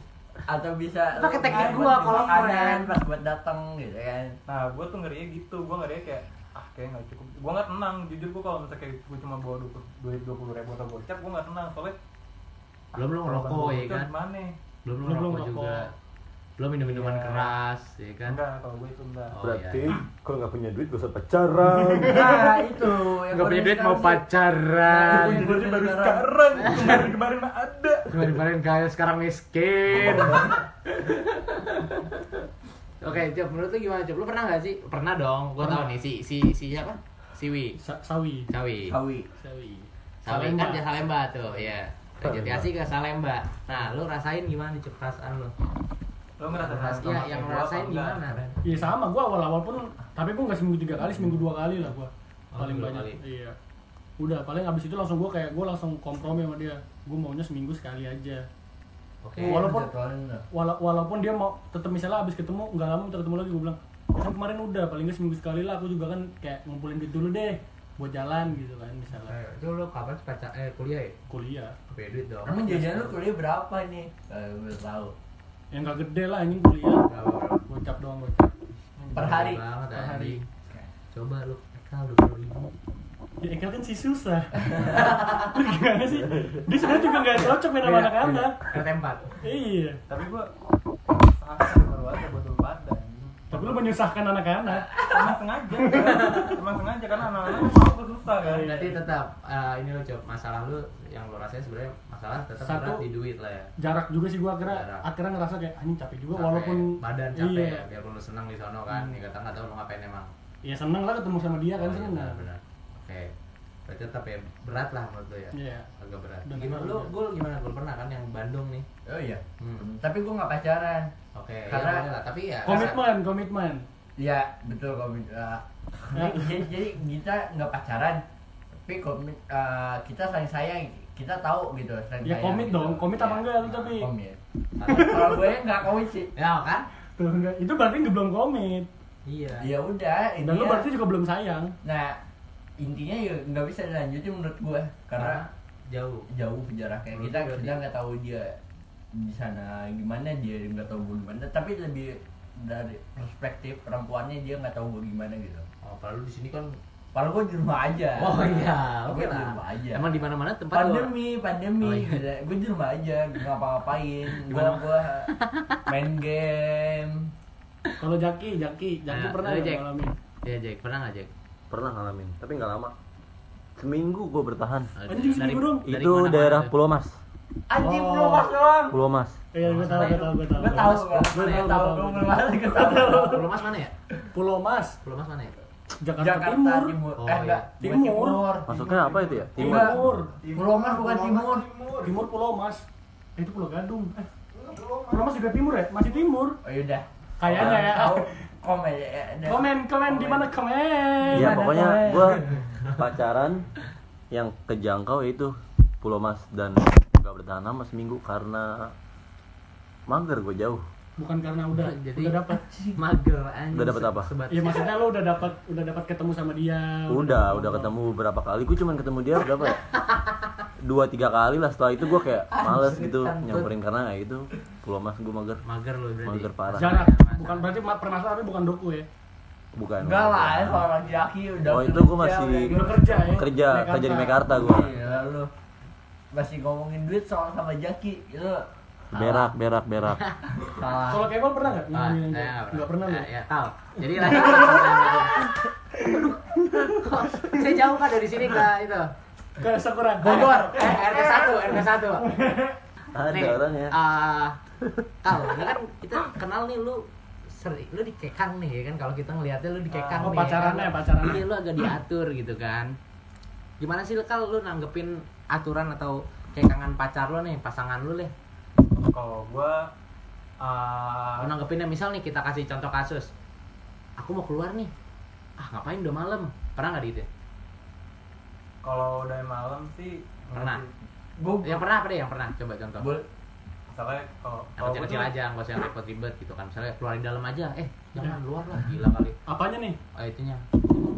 D: atau bisa
A: Lu Oh, pakai
D: lu
A: teknik
D: buat
A: gua,
D: beli
A: kalau
D: makanan,
A: friend.
D: pas buat datang gitu kan.
C: nah gua tuh ngerinya gitu gua ngerinya kayak ah kayak nggak cukup gua nggak tenang jujur gua kalau misalnya kayak gua cuma bawa duit dua puluh ribu atau gocap gua nggak tenang soalnya
A: belum lu
C: kalau ban
A: ngerokok
C: gua
A: ya
C: bocor
A: kan.
C: gimana
A: Belum lu
B: Belum
A: ngerokok
B: ngerokok.
A: juga. Belum minum-minuman
C: Iya.
A: keras ya kan.
C: enggak kalau gua itu enggak
A: Oh,
E: Berarti
A: iya.
E: kalau nggak punya duit gak usah pacaran.
D: Nah, itu. yang
A: Enggak punya
D: baru
A: duit mau
D: sekarang sih.
A: pacaran.
D: Yang
C: Gua aja baru
D: sekarang.
C: sekarang kemarin kemarin mah ada
A: Kemarin-kemarin kaya sekarang miskin. Oke, Jeb, menurut lu gimana, Jeb? Lu pernah gak sih? Pernah dong. Gua tahu nih si si si siapa? Siwi.
B: Sa- sawi.
A: Cawi.
D: Kawi.
B: Sawi.
A: Sawi kan dia
B: Salemba.
A: Salemba tuh, ya. Ke Jati Asih ke Salemba. Nah, lu rasain gimana Cep perasaan lu?
C: lo ngerasa
A: Ras- Iya, yang ngerasain gimana? Ren?
B: Iya sama gua awal-awal pun tapi gua enggak seminggu tiga kali, seminggu dua kali lah gua.
A: Oh,
B: Paling
A: dua
B: banyak.
A: kali.
B: Iya. Udah, paling abis itu langsung gua kayak gua langsung kompromi sama dia. Gua maunya seminggu sekali aja.
A: Oke.
B: Walaupun-
D: Jadwalin lah.
B: Wala- walaupun dia mau tetap misalnya abis ketemu nggak lama minta ketemu lagi gue bilang "Ya kan kemarin udah paling nggak seminggu sekali lah aku juga kan kayak ngumpulin duit dulu deh buat jalan gitu kan misalnya
A: Eh, Itu lu kapan sih pacar eh kuliah ya?
B: kuliah
A: Pakai duit dong.
D: Emang jajan lu kuliah berapa nih? Eh, belum tahu.
B: yang gak gede lah anjing kuliah
A: Nggak apa-apa.
B: gocap doang gocap
D: Per hari.
A: Banget
B: Per hari.
A: hari. Coba lu
D: Ekal dua puluh ribu.
B: Ya Ekel kan si susah. Lu gimana sih? Dia sebenarnya juga nggak cocok main sama
A: Iya,
B: anak-anak.
A: ketempat
B: Iya.
C: tapi gua sangat baru aja buat lu pada anjing.
B: Tapi lu menyusahkan anak-anak.
C: emang sengaja kan? emang sengaja karena anak-anak mau tuh susah
B: Oh,
C: kan
B: iya.
A: berarti tetap eh, ini lo coba masalah lu yang lo rasain sebenarnya masalah tetap
B: Satu,
A: berat di duit lah ya
B: Jarak juga sih gua akhirnya
A: Jarak.
B: akhirnya ngerasa kayak anjing capek juga
A: Capek,
B: walaupun
A: badan capek
B: Iya.
A: ya, biarpun lu senang di sono kan ya kata nggak tahu lu ngapain emang
B: Ya seneng lah ketemu sama dia
A: Oh,
B: kan
A: iya,
B: seneng.
A: benar-benar. oke berarti tetap ya berat lah menurut lu ya
B: Iya.
A: agak berat
B: Dan
A: gimana
B: berat
A: lu
B: juga.
A: gue gimana gue pernah kan yang Bandung nih
D: Oh iya.
A: Hmm.
D: Tapi gue nggak pacaran.
A: oke ya
D: Karena-
A: boleh lah tapi ya
B: Komitmen, komitmen.
D: Iya betul komit. eh, jadi, jadi, jadi kita nggak pacaran, tapi komit eh, kita saling sayang, kita tahu gitu. Saling
B: Ya,
D: sayang,
B: komit
D: gitu.
B: dong. Komit apa
D: Iya,
B: enggak lu tapi?
D: Komit. Kalau gue nggak komit sih.
A: rasa- ya kan
B: Tuh enggak. Itu berarti nggak belum komit.
A: iya
D: Ya udah.
B: Dan lu
D: intinya-
B: berarti juga belum sayang.
D: Nah intinya ya nggak bisa dilanjutin menurut gue karena
A: jauh
D: jauh jaraknya
A: Menurut
D: kita
A: gua
D: kita
A: dia-
D: nggak tahu dia di sana gimana dia nggak tahu gue gimana tapi lebih dari perspektif perempuannya dia nggak tahu gue gimana gitu
A: oh kalau lu di sini kan
D: Padahal gue di rumah aja
A: Oh iya,
D: Gua
A: oke
D: di
A: lah.
D: rumah aja
A: Emang di mana-mana tempat lu-
D: pandemi
A: Oh,
D: pandemi
A: iya.
D: gitu. gue di rumah aja nggak ngapa-ngapain gue gue main game
B: Kalau Jaki, Jaki, Jaki
A: Nah,
B: pernah
A: lu,
B: nggak
A: Jack.
B: ngalamin?
A: Iya, Jack, pernah nggak Jack?
E: Pernah ngalamin, tapi nggak lama. Seminggu gue bertahan.
B: Anjing,
A: Dari-
B: seminggu dong.
A: dari
E: itu
A: mana-mana
E: daerah
A: tuh?
E: Pulau Mas.
D: anjing
B: Oh.
D: belum mas doang
E: Pulau Mas.
B: Iya, gue tahu, gue tahu, gue tahu.
D: gue tahu
B: Gua tahu,
D: gue tahu
B: gua
D: gue
B: tahu.
D: pernah ke sana
A: Pulau Mas mana ya?
B: Pulau Mas,
A: Pulau Mas mana ya?
B: Jakarta, Timur.
D: Jakarta
B: Iya.
D: Timur
A: Oh,
D: eh
A: iya.
D: enggak bukan
B: Timur.
E: Masuknya apa itu ya? Timur.
D: Enggak.
B: Timur.
D: Pulau Mas bukan Timur
B: Timur Pulau Mas. Eh, itu Pulau Gadung. Eh, Pulau Mas juga Timur ya? Masih Timur.
D: oh yaudah
B: Kayaknya ya.
D: Tahu, komen ya, ya, ya.
B: Komen, komen di mana komen?
E: Ya
D: Gimana
E: pokoknya
D: soalnya?
E: gue pacaran yang kejangkau itu Pulau Mas dan gak bertahan lama seminggu karena mager gue jauh.
B: Bukan karena udah
A: Jadi-
B: udah dapat.
A: Mager anjing.
E: Udah dapet apa?
A: Sebat.
B: Iya, maksudnya lo udah dapat udah dapat ketemu sama dia.
E: Udah, udah ketemu beberapa kali. Gue cuman ketemu dia berapa ya? Dua tiga kali lah. Setelah itu gue kayak males gitu nyamperin karena ya itu Pulau Mas gue mager.
A: Mager lu berarti.
E: Mager parah.
B: Jarak. Bukan berarti ma- permasalahan bukan doku ya.
E: Bukan.
D: enggak lah ya, seorang laki-laki udah
E: Oh, itu
D: kerja,
E: gua masih-
D: udah gitu.
B: Udah kerja ya.
E: Kerja,
B: Mekarta.
E: kerja Iya, di Mekarta gue.
D: Iya, lu masih ngomongin duit soal sama Jaki itu
E: Berak, berak, berak.
D: salah
B: Kalau Kevin pernah nggak?
A: Ah,
B: ngalamin yang
A: eh,
B: kayak- Iya, Nggak pernah
A: Eh,
B: lo.
A: Ya, tahu. Jadi lanjut. Aduh, kok Saya jauh kan dari sini ke itu.
B: Ke Sakura.
A: Bogor, eh, RT 1, RT 1.
E: Ada orang ya.
A: Kal, ini Ah, kan kita kenal nih lu sering lu dikekang nih ya kan kalau kita ngelihatnya lu dikekang
B: Oh,
A: nih.
B: pacarannya,
A: ya kan?
B: pacarannya.
A: Iya, lu agak diatur gitu kan. Gimana sih Kal lu nanggepin aturan atau kekangan pacar lu nih, pasangan lu deh.
C: kalau gua ah,
A: Kalau nanggepinnya misal nih kita kasih contoh kasus. Aku mau keluar nih. Ah, ngapain udah malam? Pernah nggak gitu?
C: kalau udah malam sih
A: Pernah.
D: gue
A: Yang pernah apa deh yang pernah? Coba contoh.
C: misalnya kalau kalau
A: Yang
C: gua
A: kecil-kecil
C: tuh-
A: aja, nggak usah yang repot-ribet gitu kan. Misalnya keluar di dalam aja, eh
B: Iya.
A: jangan luar lah, gila kali.
B: Apanya nih?
A: Oh, itunya.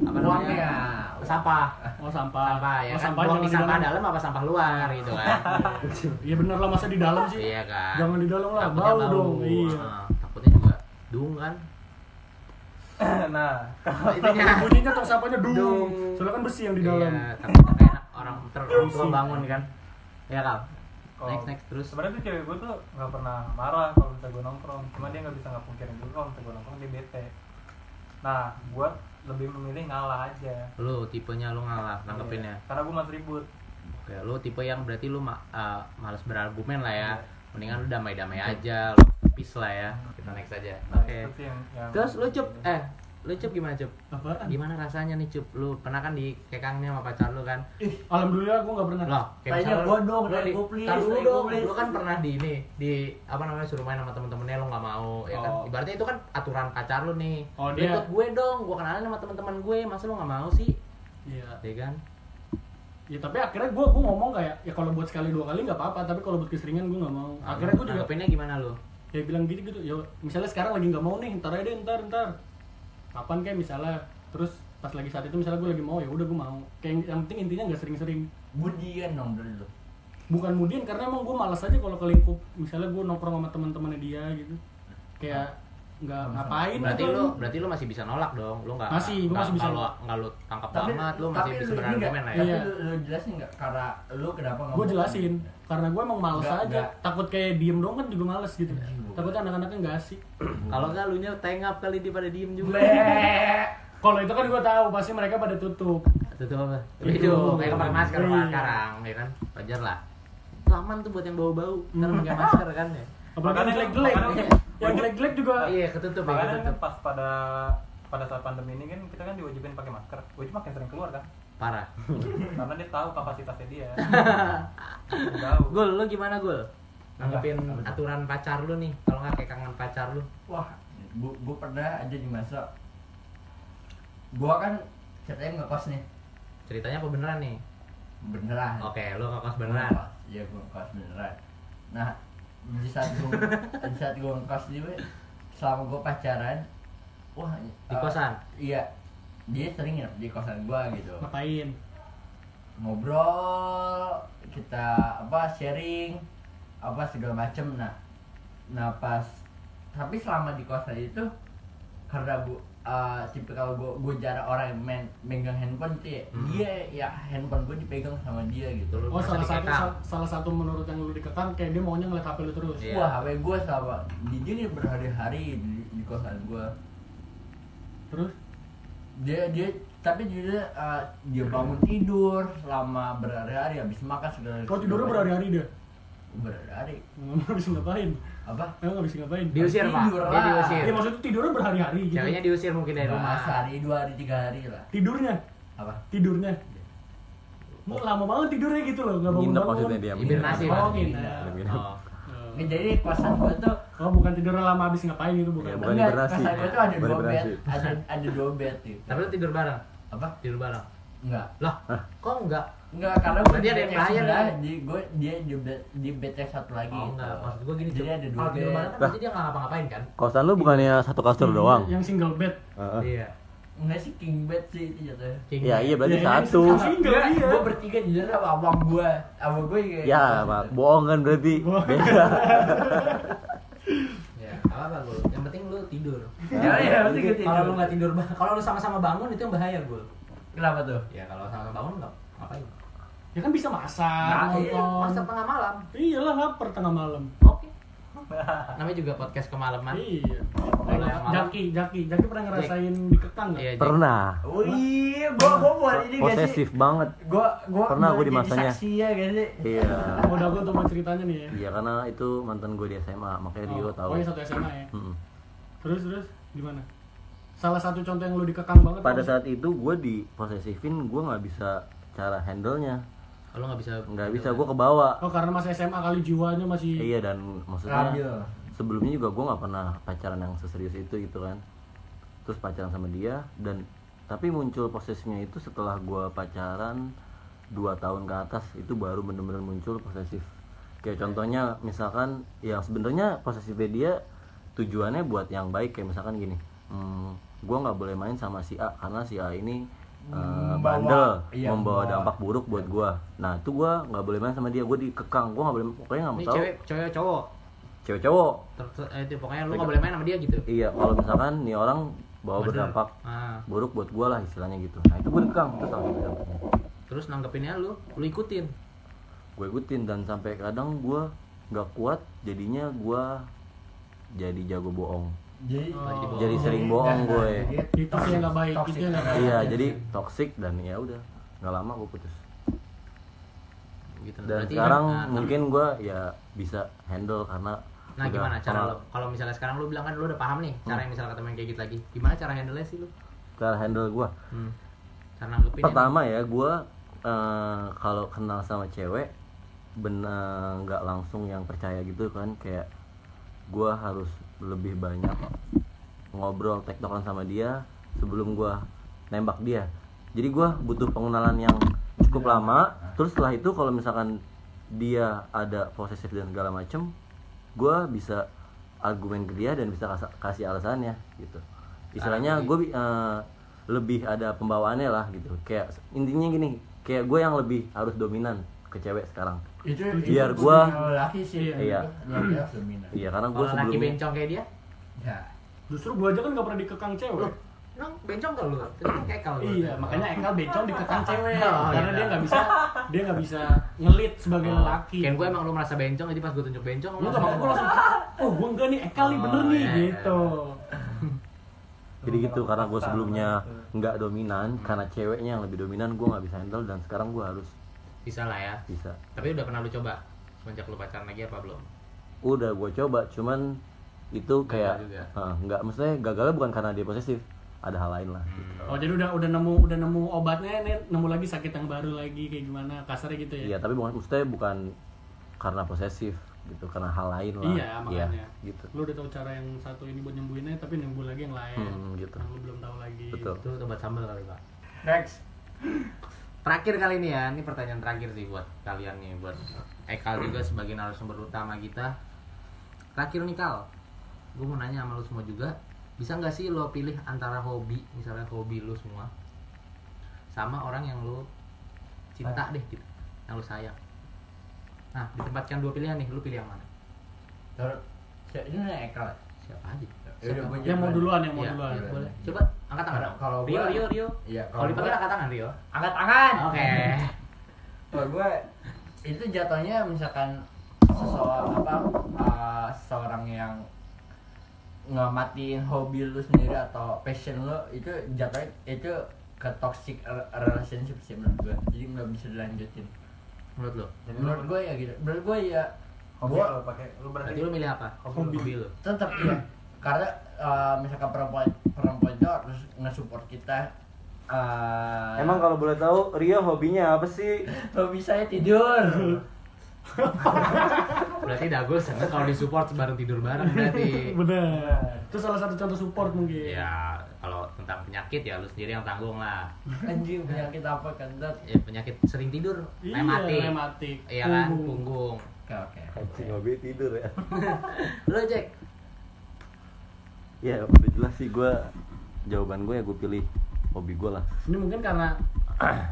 A: Apa
D: uangnya
A: namanya? Sampah.
B: Oh, sampah.
A: Sampah ya
B: Oh,
A: kan.
B: sampah
A: Buang di
B: jangan di
A: sampah
B: dalam.
A: dalam apa sampah luar gitu kan.
B: Iya bener lah masa di dalam sih.
A: iya kan.
B: Jangan di dalam lah,
A: Takutnya
B: bau dong. Iya.
A: Ah, takutnya juga dung kan.
C: nah
A: Itunya.
B: Bunyinya tong sampahnya
A: Dung.
B: dung. Soalnya kan besi yang Iya, di dalam.
A: Iya, takutnya kayak orang ter orang tua bangun kan. Iya kan.
B: Oh.
C: kalau
A: Next next terus.
C: Ya, sebenarnya tuh cewek gua tuh nggak pernah marah kalau misalnya gua nongkrong cuma dia nggak bisa nggak pungkirin juga kalau misalnya gua nongkrong dia bete nah gua lebih memilih ngalah aja
A: Lu tipenya lu ngalah nanggepinnya.
C: Iya. karena gua masih ribut
A: ya? Oke, lu tipe yang berarti lu ma eh, malas berargumen lah ya.
C: Iya.
A: Mendingan lu damai-damai aja, lu peace lah ya. Kita next aja.
B: Iya,
C: Nah,
A: Oke.
C: itu sih yang- gitu. yang-
A: Terus lu cup eh lu cup gimana cup?
B: Apaan?
A: Gimana rasanya nih cup? Lu pernah kan dikekangnya sama pacar lu kan?
B: Alhamdulillah gue gak pernah.
A: Loh, kayak
D: Tanya
A: misalnya
D: gua dong,
A: lu
D: tanya
A: di-
D: gua please,
A: tar dulu
D: tanya
A: dong,
D: gua please.
A: Lu kan pernah di ini, di apa namanya suruh main sama temen-temennya lu nggak mau, ya kan?
B: Oh.
A: Ibaratnya itu kan aturan pacar lu nih.
B: Oh,
A: Lu
B: dia-
A: Ikut gue dong, gue kenalin sama teman-teman gue, masa lu nggak mau sih?
B: Iya.
A: Ya kan?
B: Ya tapi akhirnya gue gue ngomong kayak ya kalau buat sekali dua kali nggak apa-apa tapi kalau buat keseringan gue nggak mau.
A: Ah,
B: Akhirnya gue juga
A: Nanggepinnya gimana lu?
B: ya bilang gitu gitu ya misalnya sekarang lagi nggak mau nih ntar aja deh, ntar ntar kapan kayak misalnya terus pas lagi saat itu misalnya gue lagi mau ya udah gue mau kayak yang penting intinya nggak sering-sering
D: budian dong dulu
B: bukan mudian karena emang gue malas aja kalau ke lingkup misalnya gue nongkrong sama teman-temannya dia gitu kayak nggak ngapain
A: berarti
B: gitu.
A: lu berarti lu masih bisa nolak dong lu nggak
B: Masih, gua
A: nggak-
B: masih bisa
A: nggak lu
B: nolak.
A: nggak lu tangkap banget lu masih bisa
D: ini nggak-
A: berargumen lah ya
B: Iya.
D: tapi lu, lu jelasin nggak karena lu kenapa gitu? nggak
B: gue
D: mau-
B: jelasin karena gue emang males
D: Nggak,
B: aja
D: nggak.
B: takut kayak diem doang kan juga males gitu
D: Iya.
B: takut anak-anaknya nggak asik
A: kalau nggak lu nya tengap kali di pada diem juga
D: Bleh.
B: kalau itu kan gue tahu pasti mereka pada tutup
A: tutup apa
B: Hidung.
A: hidung kayak pakai masker
B: Iya.
A: kalau sekarang ya kan wajar lah aman tuh buat yang bau-bau karena pakai masker kan ya
B: apalagi yang
C: Makanya-
B: jelek-jelek
C: makanya-
B: yang jelek-jelek juga
A: iya ketutup ya
C: Makanya kan
A: ketutup
C: pas pada pada saat pandemi ini kan kita kan diwajibin pakai masker. Gue cuma makin sering keluar kan,
A: parah
C: karena dia tahu kapasitasnya dia. Dia tahu.
A: gul lu gimana gul nanggepin aturan pacar lu nih kalau nggak kayak kangen pacar lu
D: wah gua, gua pernah aja di masa gua kan ceritanya ngekos nih
A: ceritanya apa beneran nih
D: beneran
A: oke lu ngekos beneran
D: Iya gue ngekos beneran Nah di saat gue di saat gue ngekos dia selama gue pacaran wah
A: di
D: eh,
A: kosan
D: iya dia sering nginep di kosan gue gitu
B: ngapain
D: ngobrol kita apa sharing apa segala macem nah nah pas tapi selama di kosan itu karena gua eh, tipe kalau gua gua jarang orang yang main megang handphone tuh ya,
A: Hmm.
D: dia ya handphone gua dipegang sama dia gitu
A: Lu
B: oh
A: merasa
B: salah satu
A: dikekang.
B: sal- salah satu menurut yang lu dikekang kayak dia maunya ngeliat hp lu terus
A: Iya.
D: Wah, HP gue sama dia berhari-hari di, di kosan gue.
B: terus
D: Dia dia tapi dia eh, dia bangun tidur selama berhari-hari habis makan segala.
B: kau tidurnya berhari-hari dia
D: Berhari.
B: nggak bisa ngapain
D: Apa?
B: nggak bisa ngapain
A: Di- Diusir, Pak.
D: Tidur
A: Dia
D: lah.
A: diusir.
B: ya maksudnya tidurnya berhari-hari gitu
A: ceweknya diusir mungkin dari
D: Nah,
A: rumah
D: sehari dua hari tiga hari lah.
B: tidurnya
D: Apa?
B: tidurnya
A: Oh.
B: Nggak, lama banget tidurnya gitu loh nggak bangun
E: Nginep
B: bangun
E: maksudnya Iya. dia.
A: Ibir nasi
B: oh
A: Pak.
B: nginep
E: Nginep.
A: Oh.
D: Nggak, jadi kosan gue tuh
B: oh bukan tidurnya lama habis ngapain gitu bukan
A: Ya,
E: Iya, bukan.
D: enggak,
E: hibernasi.
D: kosan gue tuh ada
E: Bukan
D: dua bed,
E: hibernasi.
D: ada ada dua bed gitu.
A: tapi lu tidur bareng
D: Apa?
A: tidur bareng
D: Enggak.
A: lah kok enggak
D: Enggak, karena gue
A: Berarti ada yang lain, kan?
D: Di gue dia di bed di bed yang satu lagi.
A: oh enggak
D: gitu.
A: maksud gua gini
D: Jadi
A: Cuk.
D: ada dua
A: kalau tidur
D: bed.
A: bareng kan berarti dia nggak ngapa-ngapain kan
E: Kosan lu bukannya satu kasur doang?
B: yang single bed
E: Iya. Heeh.
A: iya
D: Enggak sih king bed sih itu jatuhnya.
A: King
E: Ya iya
B: Iya,
E: berarti
B: iya,
E: satu.
B: yang single iya
D: Gue bertiga jujur sama abang gue Abang gue juga gitu.
E: Ya, Pak. Bohong kan berarti.
B: Bohong.
E: Beda.
A: ya apa apa gul yang penting lu tidur
D: Ya, ya, pasti gue tidur.
A: kalau lu nggak tidur ba- kalau lu sama-sama bangun itu yang bahaya gul
D: Kenapa tuh?
A: ya kalau sama-sama bangun nggak ngapain
B: ya kan bisa masak
D: Nah,
A: iya masa
B: nonton
A: tengah malam
B: iya lah lapar tengah malam
A: oke namanya juga podcast kemalaman
B: iya
A: Boleh.
B: jaki jaki jaki pernah ngerasain dikekang
A: Iya,
B: nggak
A: Jack.
E: Pernah.
D: Oh, Wih, gue gue iya, buat ini gak sih?
E: Posesif banget.
D: Gue gue
E: Pernah gua di masanya.
D: Saksi ya gak sih?
E: Iya.
B: udah gue tuh mau ceritanya nih ya
E: Iya karena itu mantan gue di SMA, makanya dia
B: Oh,
E: Iya, tahu. Hmm.
B: pokoknya satu SMA ya
E: Mm-mm.
B: terus terus gimana salah satu contoh yang lu dikekang banget
E: Pada
B: apa?
E: saat itu gue di posesifin, gue nggak bisa cara handle-nya.
A: kalau nggak bisa
E: Nggak bisa, gue kebawa.
B: oh karena masih SMA kali jiwanya masih
E: Iya dan maksudnya
D: Labil.
E: sebelumnya juga gue nggak pernah pacaran yang seserius itu gitu kan. Terus pacaran sama dia dan tapi muncul posesifnya itu setelah gue pacaran dua tahun ke atas itu baru bener-bener muncul posesif. Kayak contohnya misalkan ya sebenarnya posesifnya dia tujuannya buat yang baik kayak misalkan gini, hmm, gue nggak boleh main sama si A karena si A ini eh,
D: Membawa-
E: bandel
D: iya,
E: membawa
D: membawa. Iya.
E: dampak buruk buat gue. Nah itu gue nggak boleh main sama dia, gue dikekang, gue nggak boleh pokoknya nggak
A: ini
E: mau tahu
A: cewek cewek cowok
E: cewek cowok
A: Ter- ter- eh, itu pokoknya lu nggak boleh main sama dia gitu
E: iya kalau misalkan nih orang
A: Bener.
E: bawa Oh, berdampak
A: Ah,
E: buruk buat gua lah istilahnya gitu nah itu gue dekang terus salah satu dampaknya.
A: terus nanggepinnya lu lu ikutin
E: gue ikutin dan sampai kadang gua nggak kuat jadinya gua jadi jago bohong
D: Jadi
B: Oh.
E: jadi sering bohong gue
B: itu sih yang nggak baik
D: Toxic.
B: itu yang nggak baik
E: iya jadi toxic dan ya udah nggak lama gue putus
A: gitu
E: dan
A: Berarti-
E: sekarang
A: nah, nah,
E: mungkin gua ya bisa handle karena
A: Nah
E: udah
A: gimana cara
E: pernah-
A: lo? Kalau misalnya sekarang lo bilang kan lo udah paham nih cara yang misalnya ketemu yang kayak gitu lagi. Gimana cara handle-nya sih lo?
E: cara handle gua
A: Hmm. Cara nanggepin
E: pertama ya gue kalau kenal sama cewek benar nggak langsung yang percaya gitu kan kayak gue harus lebih banyak ngobrol tektokan sama dia sebelum gue nembak dia jadi gue butuh pengenalan yang cukup lama terus setelah itu kalau misalkan dia ada posesif dan segala macem gue bisa argumen ke dia dan bisa kas- kasih alasannya gitu istilahnya gue lebih ada pembawaannya lah gitu kayak intinya gini kayak gue yang lebih harus dominan ke cewek sekarang
D: itu
E: Biar
D: itu
E: gua-
D: kalau laki sih
E: Iya.
D: Laki harus dominan.
E: iya karena gue
A: Kalau laki
E: sebelumnya
A: bencong kayak dia,
D: Ya.
B: Justru gua aja kan gak pernah dikekang cewek.
A: Emang bencong gak lu? Tadi kan kekal lu.
B: Iya, makanya Ekal becong dikekang cewek
A: Oh,
B: karena
A: iya.
B: dia nggak bisa dia nggak bisa ngelit sebagai
A: Oh,
B: lelaki.
A: Ken gue emang lu merasa bencong jadi pas gue tunjuk bencong
B: Lu nggak mau gue langsung, oh gue enggak nih Ekal nih bener
A: Oh,
B: nih
A: iya, iya.
B: gitu.
E: jadi gitu karena gue sebelumnya nggak dominan karena ceweknya yang lebih dominan gue nggak bisa handle dan sekarang gue harus
A: bisa lah ya.
E: bisa
A: Tapi udah pernah lu coba semenjak lu pacaran lagi apa belum?
E: udah gue coba cuman itu kayak
A: juga.
E: eh, nggak maksudnya gagalnya bukan karena dia posesif ada hal lain lah
B: Oh jadi udah udah nemu udah nemu obatnya nih nemu lagi sakit yang baru lagi kayak gimana kasarnya gitu ya.
E: iya tapi bukan maksudnya bukan karena posesif gitu karena hal lain lah
B: Iya, makanya.
E: gitu
B: Lu udah tahu cara yang satu ini buat nyembuhinnya tapi nemu lagi yang lain.
E: Hmm, gitu.
B: Yang lu belum tahu lagi.
E: betul
A: Itu obat sambal kali pak.
D: next
A: Terakhir kali ini ya, ini pertanyaan terakhir sih buat kalian nih, buat Ekal juga sebagai narasumber utama kita. Terakhir nih Kal, gue mau nanya sama lu semua juga, bisa nggak sih lo pilih antara hobi, misalnya hobi lu semua, sama orang yang lu cinta deh gitu, yang lu sayang. Nah, ditempatkan dua pilihan nih, lu pilih yang mana?
D: terus si- ini nih ekal ya?
A: Siapa aja?
D: Yaudah, gua
B: Yang mau
D: jawaban.
B: duluan yang mau
A: Iya,
B: duluan.
D: iya.
A: Boleh. Coba angkat tangan. dong.
D: Kalau
A: Rio,
D: gua-
A: Rio, Rio.
D: iya
A: Kalau dipanggil
D: gua-
A: angkat tangan Rio.
D: angkat tangan
A: Oke.
D: kalau gue itu jatuhnya misalkan seseorang apa uh, seorang yang ngematiin hobi lu sendiri atau passion lu itu jatuhnya itu ke toxic re- relationship sih menurut gue jadi nggak bisa dilanjutin
A: Menurut lu.
C: Jadi lu
D: menurut gue ya gitu menurut gue ya
C: hobi
D: Gua-
C: lu pakai lu berarti
A: Berarti lu milih apa?
C: Hobi.
A: lu.
D: tetap iya karena uh, misalkan perempuan perempuan itu harus nge-support kita uh,
E: emang kalau boleh tahu Rio hobinya apa sih
D: hobi saya tidur
A: Berarti dago seneng kalau disupport bareng tidur bareng berarti.
B: Bener. Itu salah satu contoh support mungkin.
A: ya kalau tentang penyakit ya lu sendiri yang tanggung lah.
D: anjing penyakit apa kan dat
A: Ya, penyakit sering tidur,
B: Iya,
A: rematik.
B: rematik.
A: Iya kan, punggung.
B: Punggung.
D: oke oke
E: Anjing, hobi tidur ya
A: Lu Jack,
E: ya udah jelas sih gue jawaban gue ya gue pilih hobi gue lah
B: Ini mungkin karena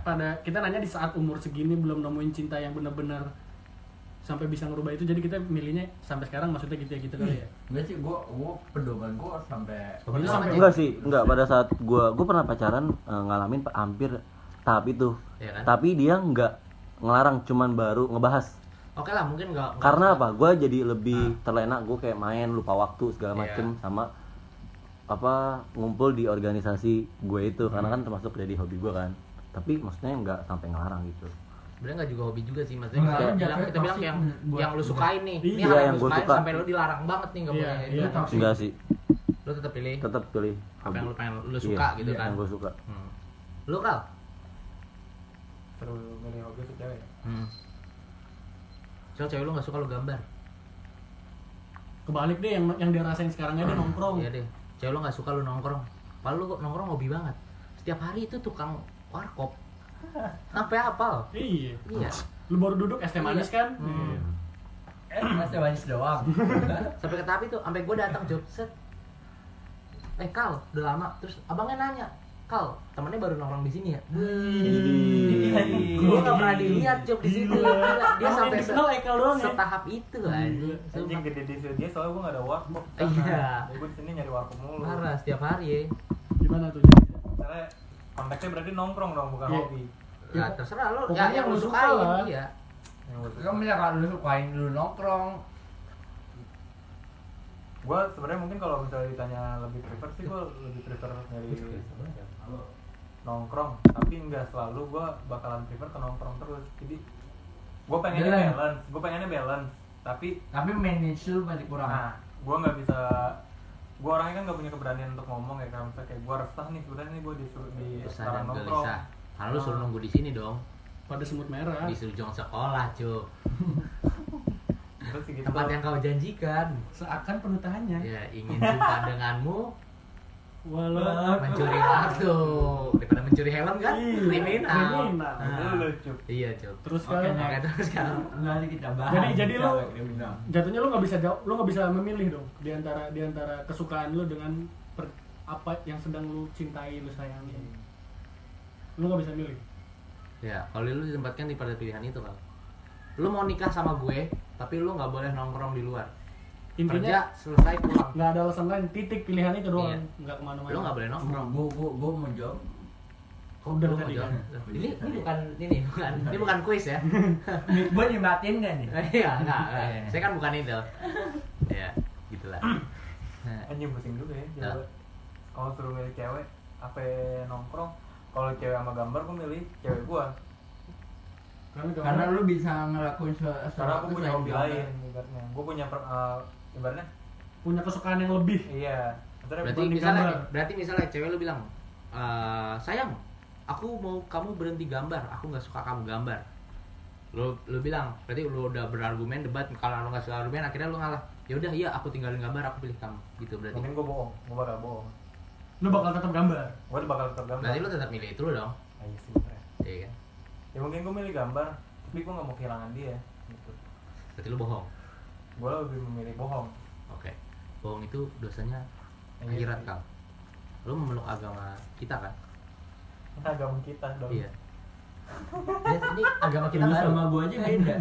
B: pada kita nanya di saat umur segini belum nemuin cinta yang benar-benar sampai bisa ngerubah itu jadi kita milihnya sampai sekarang maksudnya gitu ya gitu kali ya.
D: gue sih gue gue pedoman gue sampai
B: Lu sampai
E: enggak sih enggak pada saat gue gue pernah pacaran eh, ngalamin pa- hampir tahap itu
A: Iya kan?
E: tapi dia nggak ngelarang cuman baru ngebahas
A: oke lah mungkin nggak nggak-
E: karena apa gue jadi
A: Ah.
E: lebih terlena gue kayak main lupa waktu
A: Iya.
E: segala macem sama apa ngumpul di organisasi gue itu
A: Hmm.
E: karena kan termasuk jadi hobi gue kan tapi maksudnya nggak sampai ngelarang gitu
A: sebenarnya nggak juga hobi juga sih maksudnya kita
D: Enggak.
A: bilang kita bilang yang
D: Buat-
A: yang lu sukain nih ini
B: Iya,
A: hal yang
E: yang
A: lu
E: gua
A: sukain
E: suka.
A: sampai lu dilarang banget nih nggak
B: Iya,
A: boleh
B: iya.
A: Lu tetap-
E: enggak sih
A: lu tetap pilih
E: tetap pilih
A: apa yang lu pengen lu
E: Iya,
A: suka gitu kan
E: yang gue suka
A: Hmm. lu kal
C: seru milih hobi ke cewek
A: hmm. Soal cewek lu gak suka lu gambar
B: kebalik deh yang yang dia rasain sekarang aja dia nongkrong.
A: Iya deh Cewek lu gak suka lu nongkrong Padahal lu kok nongkrong hobi banget Setiap hari itu tukang warkop Sampai hafal
B: Iya.
A: Iya
B: Lu baru duduk es teh manis kan?
A: Hmm.
D: eh masih manis doang
A: Sampai ke tapi tuh Sampai gue datang job set Eh Kal udah lama Terus abangnya nanya Kal temennya baru nongkrong di sini ya
B: Iya,
A: Gue gak pernah dilihat job di situ Gila, Dia
B: Emang yang
A: sampai se-
B: dikenal Ekel doang ya?
A: setahap itu
B: Gila.
A: anjing
C: anjing
A: Sumpah.
C: gede di dia soalnya gue gak ada warkop
A: Iya.
C: jadi gue sini nyari warkop mulu
A: Parah setiap hari ya
B: Gimana tuh? Jadi?
C: misalnya konteksnya berarti nongkrong dong bukan
B: Iya.
C: hobi
A: Ya terserah lu
B: Pokoknya
A: ya, yang
B: lu
A: lu
B: suka
A: sukain
B: lah.
A: Iya
C: yang gue
D: kan misalkan lu sukain lu nongkrong
C: gue sebenarnya mungkin kalau misalnya ditanya lebih prefer sih gue lebih prefer nyari nongkrong tapi nggak selalu gue bakalan prefer ke nongkrong terus jadi gue pengennya
D: Balance.
C: balance gue pengennya balance tapi
D: tapi manage lu masih kurang
C: nah gue nggak bisa gue orangnya kan nggak punya keberanian untuk ngomong ya kan misalnya kayak gue resah nih sebenarnya nih gue disuruh
B: Iya,
C: di
A: Resah
C: sarang
A: dan
C: nongkrong
A: gelisah Karena lu suruh nunggu di sini dong
B: Pada semut merah.
A: Disuruh jong sekolah cuy
C: terus sih gitu
A: Tempat yang kau janjikan
B: Seakan penuh tahannya.
A: Ya ingin jumpa denganmu
B: Walau
A: mencuri waktu daripada mencuri helm kan
B: Iya,
A: kriminal.
B: kriminal.
C: Itu
A: Nah,
C: lucu
A: Iya cuy.
B: Terus
A: Oke,
B: kalau-
A: oke, terus kalau
D: nanti kita bahas
B: Jadi- jadi lu-
D: cewek kriminal.
B: jatuhnya lu nggak bisa jawab, lu nggak bisa memilih dong di antara di antara kesukaan lu dengan per- apa yang sedang lu cintai, lu sayangi.
A: Hmm.
B: Lu nggak bisa milih.
A: ya kalau lu ditempatkan di pada pilihan itu kan. Lu mau nikah sama gue tapi lu nggak boleh nongkrong di luar.
B: intinya
A: kerja selesai pulang
B: nggak ada alasan lain titik pilihan itu doang
A: Iya.
B: nggak kemana-mana
A: lo nggak boleh nongkrong
D: Gue gue gue mau jawab.
B: udah
A: Lu mau
B: tadi
A: jawab?
B: kan
A: ini ini bukan ini bukan ini bukan kuis ya
D: Gue dimatiin gak nih?
A: iya nggak nggak.
D: Iya.
A: saya kan bukan itu ya gitulah Nah,
C: anjing pusing juga ya
A: Nah.
C: cewek kalau suruh milih cewek apa nongkrong kalau cewek sama gambar gue milih cewek gue
B: karena kamu-
D: Karena lu bisa ngelakuin se-
C: karena aku
D: sesuatu
C: punya
D: selain kan.
C: hobi
D: Nah, gambar.
C: lain ibaratnya gue punya per, eh, ibaratnya
B: punya kesukaan yang lebih
C: iya Maksudnya
A: berarti
C: gua-
B: di
A: misalnya
B: gambar.
A: nih, berarti misalnya cewek lu bilang "Eh, sayang aku mau kamu berhenti gambar aku nggak suka kamu gambar lu lu bilang berarti lu udah berargumen debat kalau lu nggak suka argumen akhirnya lu ngalah ya udah iya aku tinggalin gambar aku pilih kamu gitu berarti
C: mungkin gue bohong gue bakal bohong
B: lu bakal tetap gambar
C: gue bakal tetap gambar
A: berarti lu tetap milih itu lu dong
C: Ah, iya sih bener.
A: iya kan
C: ya mungkin gue milih gambar tapi gue nggak mau kehilangan dia gitu
A: berarti lu bohong
C: gue lebih memilih bohong
A: oke bohong itu dosanya
C: Iya.
A: akhirat kal lu memeluk agama kita kan
C: Ini agama kita dong
A: iya Ya, ini agama kita
B: Iya,
D: Lu
A: baru
D: sama gue aja beda.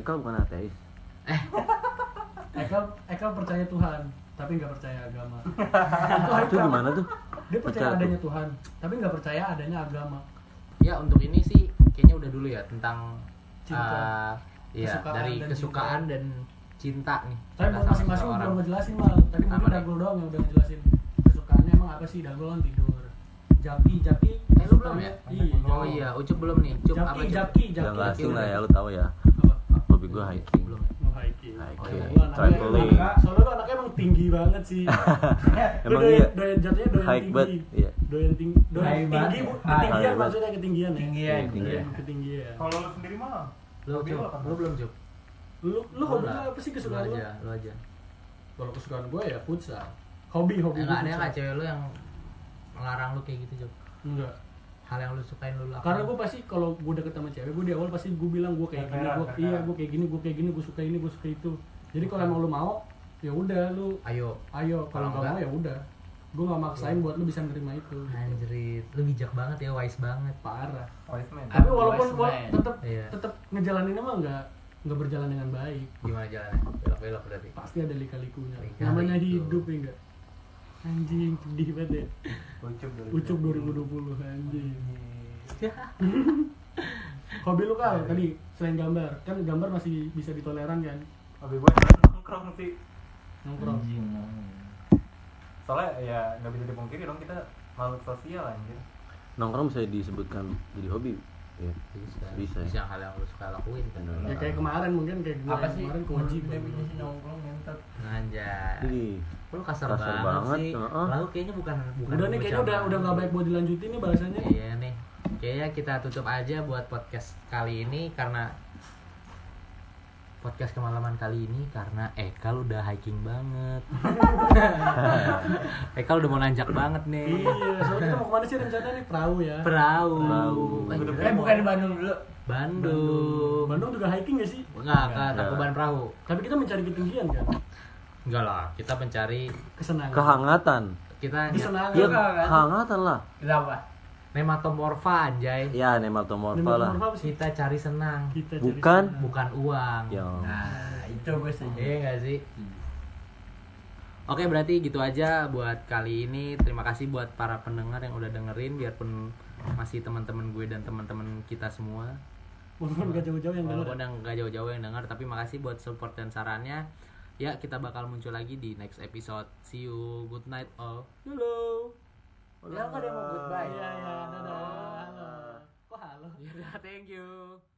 E: Eka bukan ateis.
B: Eka Eka percaya Tuhan tapi nggak percaya agama
E: Itu gimana tuh?
B: dia percaya
E: Percaya
B: adanya Tuhan tapi nggak percaya adanya agama
A: ya untuk ini sih kayaknya udah dulu ya tentang
B: Cinta.
A: eh, iya,
B: Kesukaan
A: dari
B: dan
A: kesukaan dan cinta nih Cinta
B: tapi buat
A: sama
B: masing-masing
A: seseorang.
B: belum ngejelasin mal tapi
A: Apa
B: mungkin
A: nih?
B: Dagul doang yang udah ngejelasin kesukaannya emang apa sih Dagul kan tidur Jaki Jaki
A: Eh, lu belum ya?
B: iya
A: oh iya ucup belum nih ucup
B: Jaki
A: Cup?
B: Jaki Jaki
E: Udah nggak asing lah ya, lu tahu ya.
B: apa
E: Hobi gue hiking.
A: belum ya?
B: mau hiking
E: Hiking,
B: Lu anaknya-
E: traveling.
B: anak- soalnya lu anaknya emang tinggi banget sih Lu
E: Emang
B: doyan,
E: iya.
B: doyan jatuhnya doyan
E: Hike
B: tinggi
E: bed, iya.
B: doyan tinggi doyan
D: High banget
B: tinggi
D: ya.
B: bu
D: High
B: ketinggian
E: banget.
B: maksudnya ketinggian ya
E: Iya,
D: Tinggian.
E: Tinggian.
B: Doyan ketinggian
C: kalau lu sendiri mah
A: lu
C: Hobi
A: Cup?
C: lu apa?
A: lu belum cup
B: lu lu
A: Lu
B: hobi
A: lah.
B: apa sih
A: lu
B: kesukaan lu
A: aja lu aja
B: kalau kesukaan gue ya futsal hobi hobi
A: nggak ada
B: futsal.
A: nggak cewek lu yang melarang lu kayak gitu cup
B: enggak
A: hal yang lu sukain lu lakukan
B: karena gue pasti kalau gue deket sama cewek gue di awal pasti gue bilang gue kayak gini
C: Keren,
B: gue
C: keren.
B: iya gue kayak gini gue kayak gini gue suka ini gue suka itu jadi kalau emang lu mau ya udah lu
A: ayo
B: ayo
A: Kalau
B: kalau
A: enggak-
B: nggak mau ya udah gue nggak maksain buat lu bisa menerima itu
A: anjrit lu bijak banget ya wise banget
B: parah
C: voice man
B: tapi walaupun
D: wise
B: gua
D: man.
B: tetap
A: Iya.
B: tetap ngejalaninnya mah nggak nggak berjalan dengan baik
A: gimana jalannya belok belok berarti
B: pasti ada lika-likunya
A: Lika-liku.
B: namanya hidup ya enggak anjing sedih banget ya
C: ucup dulu
B: ucup 2020 anjing hobi lu kal tadi selain gambar kan gambar masih bisa ditoleran kan
C: tapi gue nongkrong sih
B: nongkrong
C: soalnya ya nggak bisa dipungkiri dong kita makhluk sosial anjir
E: Nongkrong bisa disebutkan jadi hobi. Iya.
A: bisa
E: Bisa.
A: bisa hal yang lu suka lakuin kan
B: ya kayak kemarin mungkin kayak gue
D: Apa sih?
B: kemarin
D: menurut
B: kewajiban
D: Definisi nongkrong yang tetap
A: Anjay.
E: Jadi
A: Lu kasar,
E: Kasar
A: banget,
E: banget,
A: sih.
E: heeh.
A: Lalu kayaknya bukan bukan
B: udah nih
A: bocah
B: kayaknya udah
A: banget.
B: udah nggak baik buat dilanjutin nih bahasanya
A: Iya nih. Kayaknya kita tutup aja buat podcast kali ini karena podcast kemalaman kali ini karena Eka lu udah hiking banget. Eka lu udah mau nanjak banget nih.
B: iya soalnya kita mau kemana sih rencananya nih perahu ya
A: Perahu.
E: Perahu.
A: Bandung.
D: Eh bukan di Bandung dulu.
A: Bandung.
B: Bandung juga hiking gak sih
A: Enggak, enggak,
E: Enggak.
A: Tangkuban Perahu.
B: tapi kita mencari ketinggian kan
A: Enggak lah, kita mencari
B: kesenangan
E: kehangatan.
A: kita
B: kesenangan
E: Ya,
D: Kehangatan.
E: kehangatan lah.
D: Kenapa?
A: nematomorfa anjay.
E: Ya
B: Dan
E: nematomorfa lah.
B: metamorfa apa sih
A: Kita cari senang,
B: kita cari
E: Bukan.
B: kesenangan.
A: bukan uang.
E: Ya.
D: Nah itu gue
A: Iya
D: setuju. Hmm.
A: nggak sih? Oke berarti gitu aja buat kali ini Terima kasih buat para pendengar yang udah dengerin Biarpun masih teman-teman gue dan teman-teman kita semua
B: walaupun gak jauh-jauh yang dulu
A: Walaupun yang gak jauh-jauh yang denger Tapi makasih buat support dan sarannya Ya kita bakal muncul lagi di next episode See you, good night all Hello
D: Udah nggak ada yang mau goodbye.
B: iya iya dadah halo iya, kok halo
A: Thank you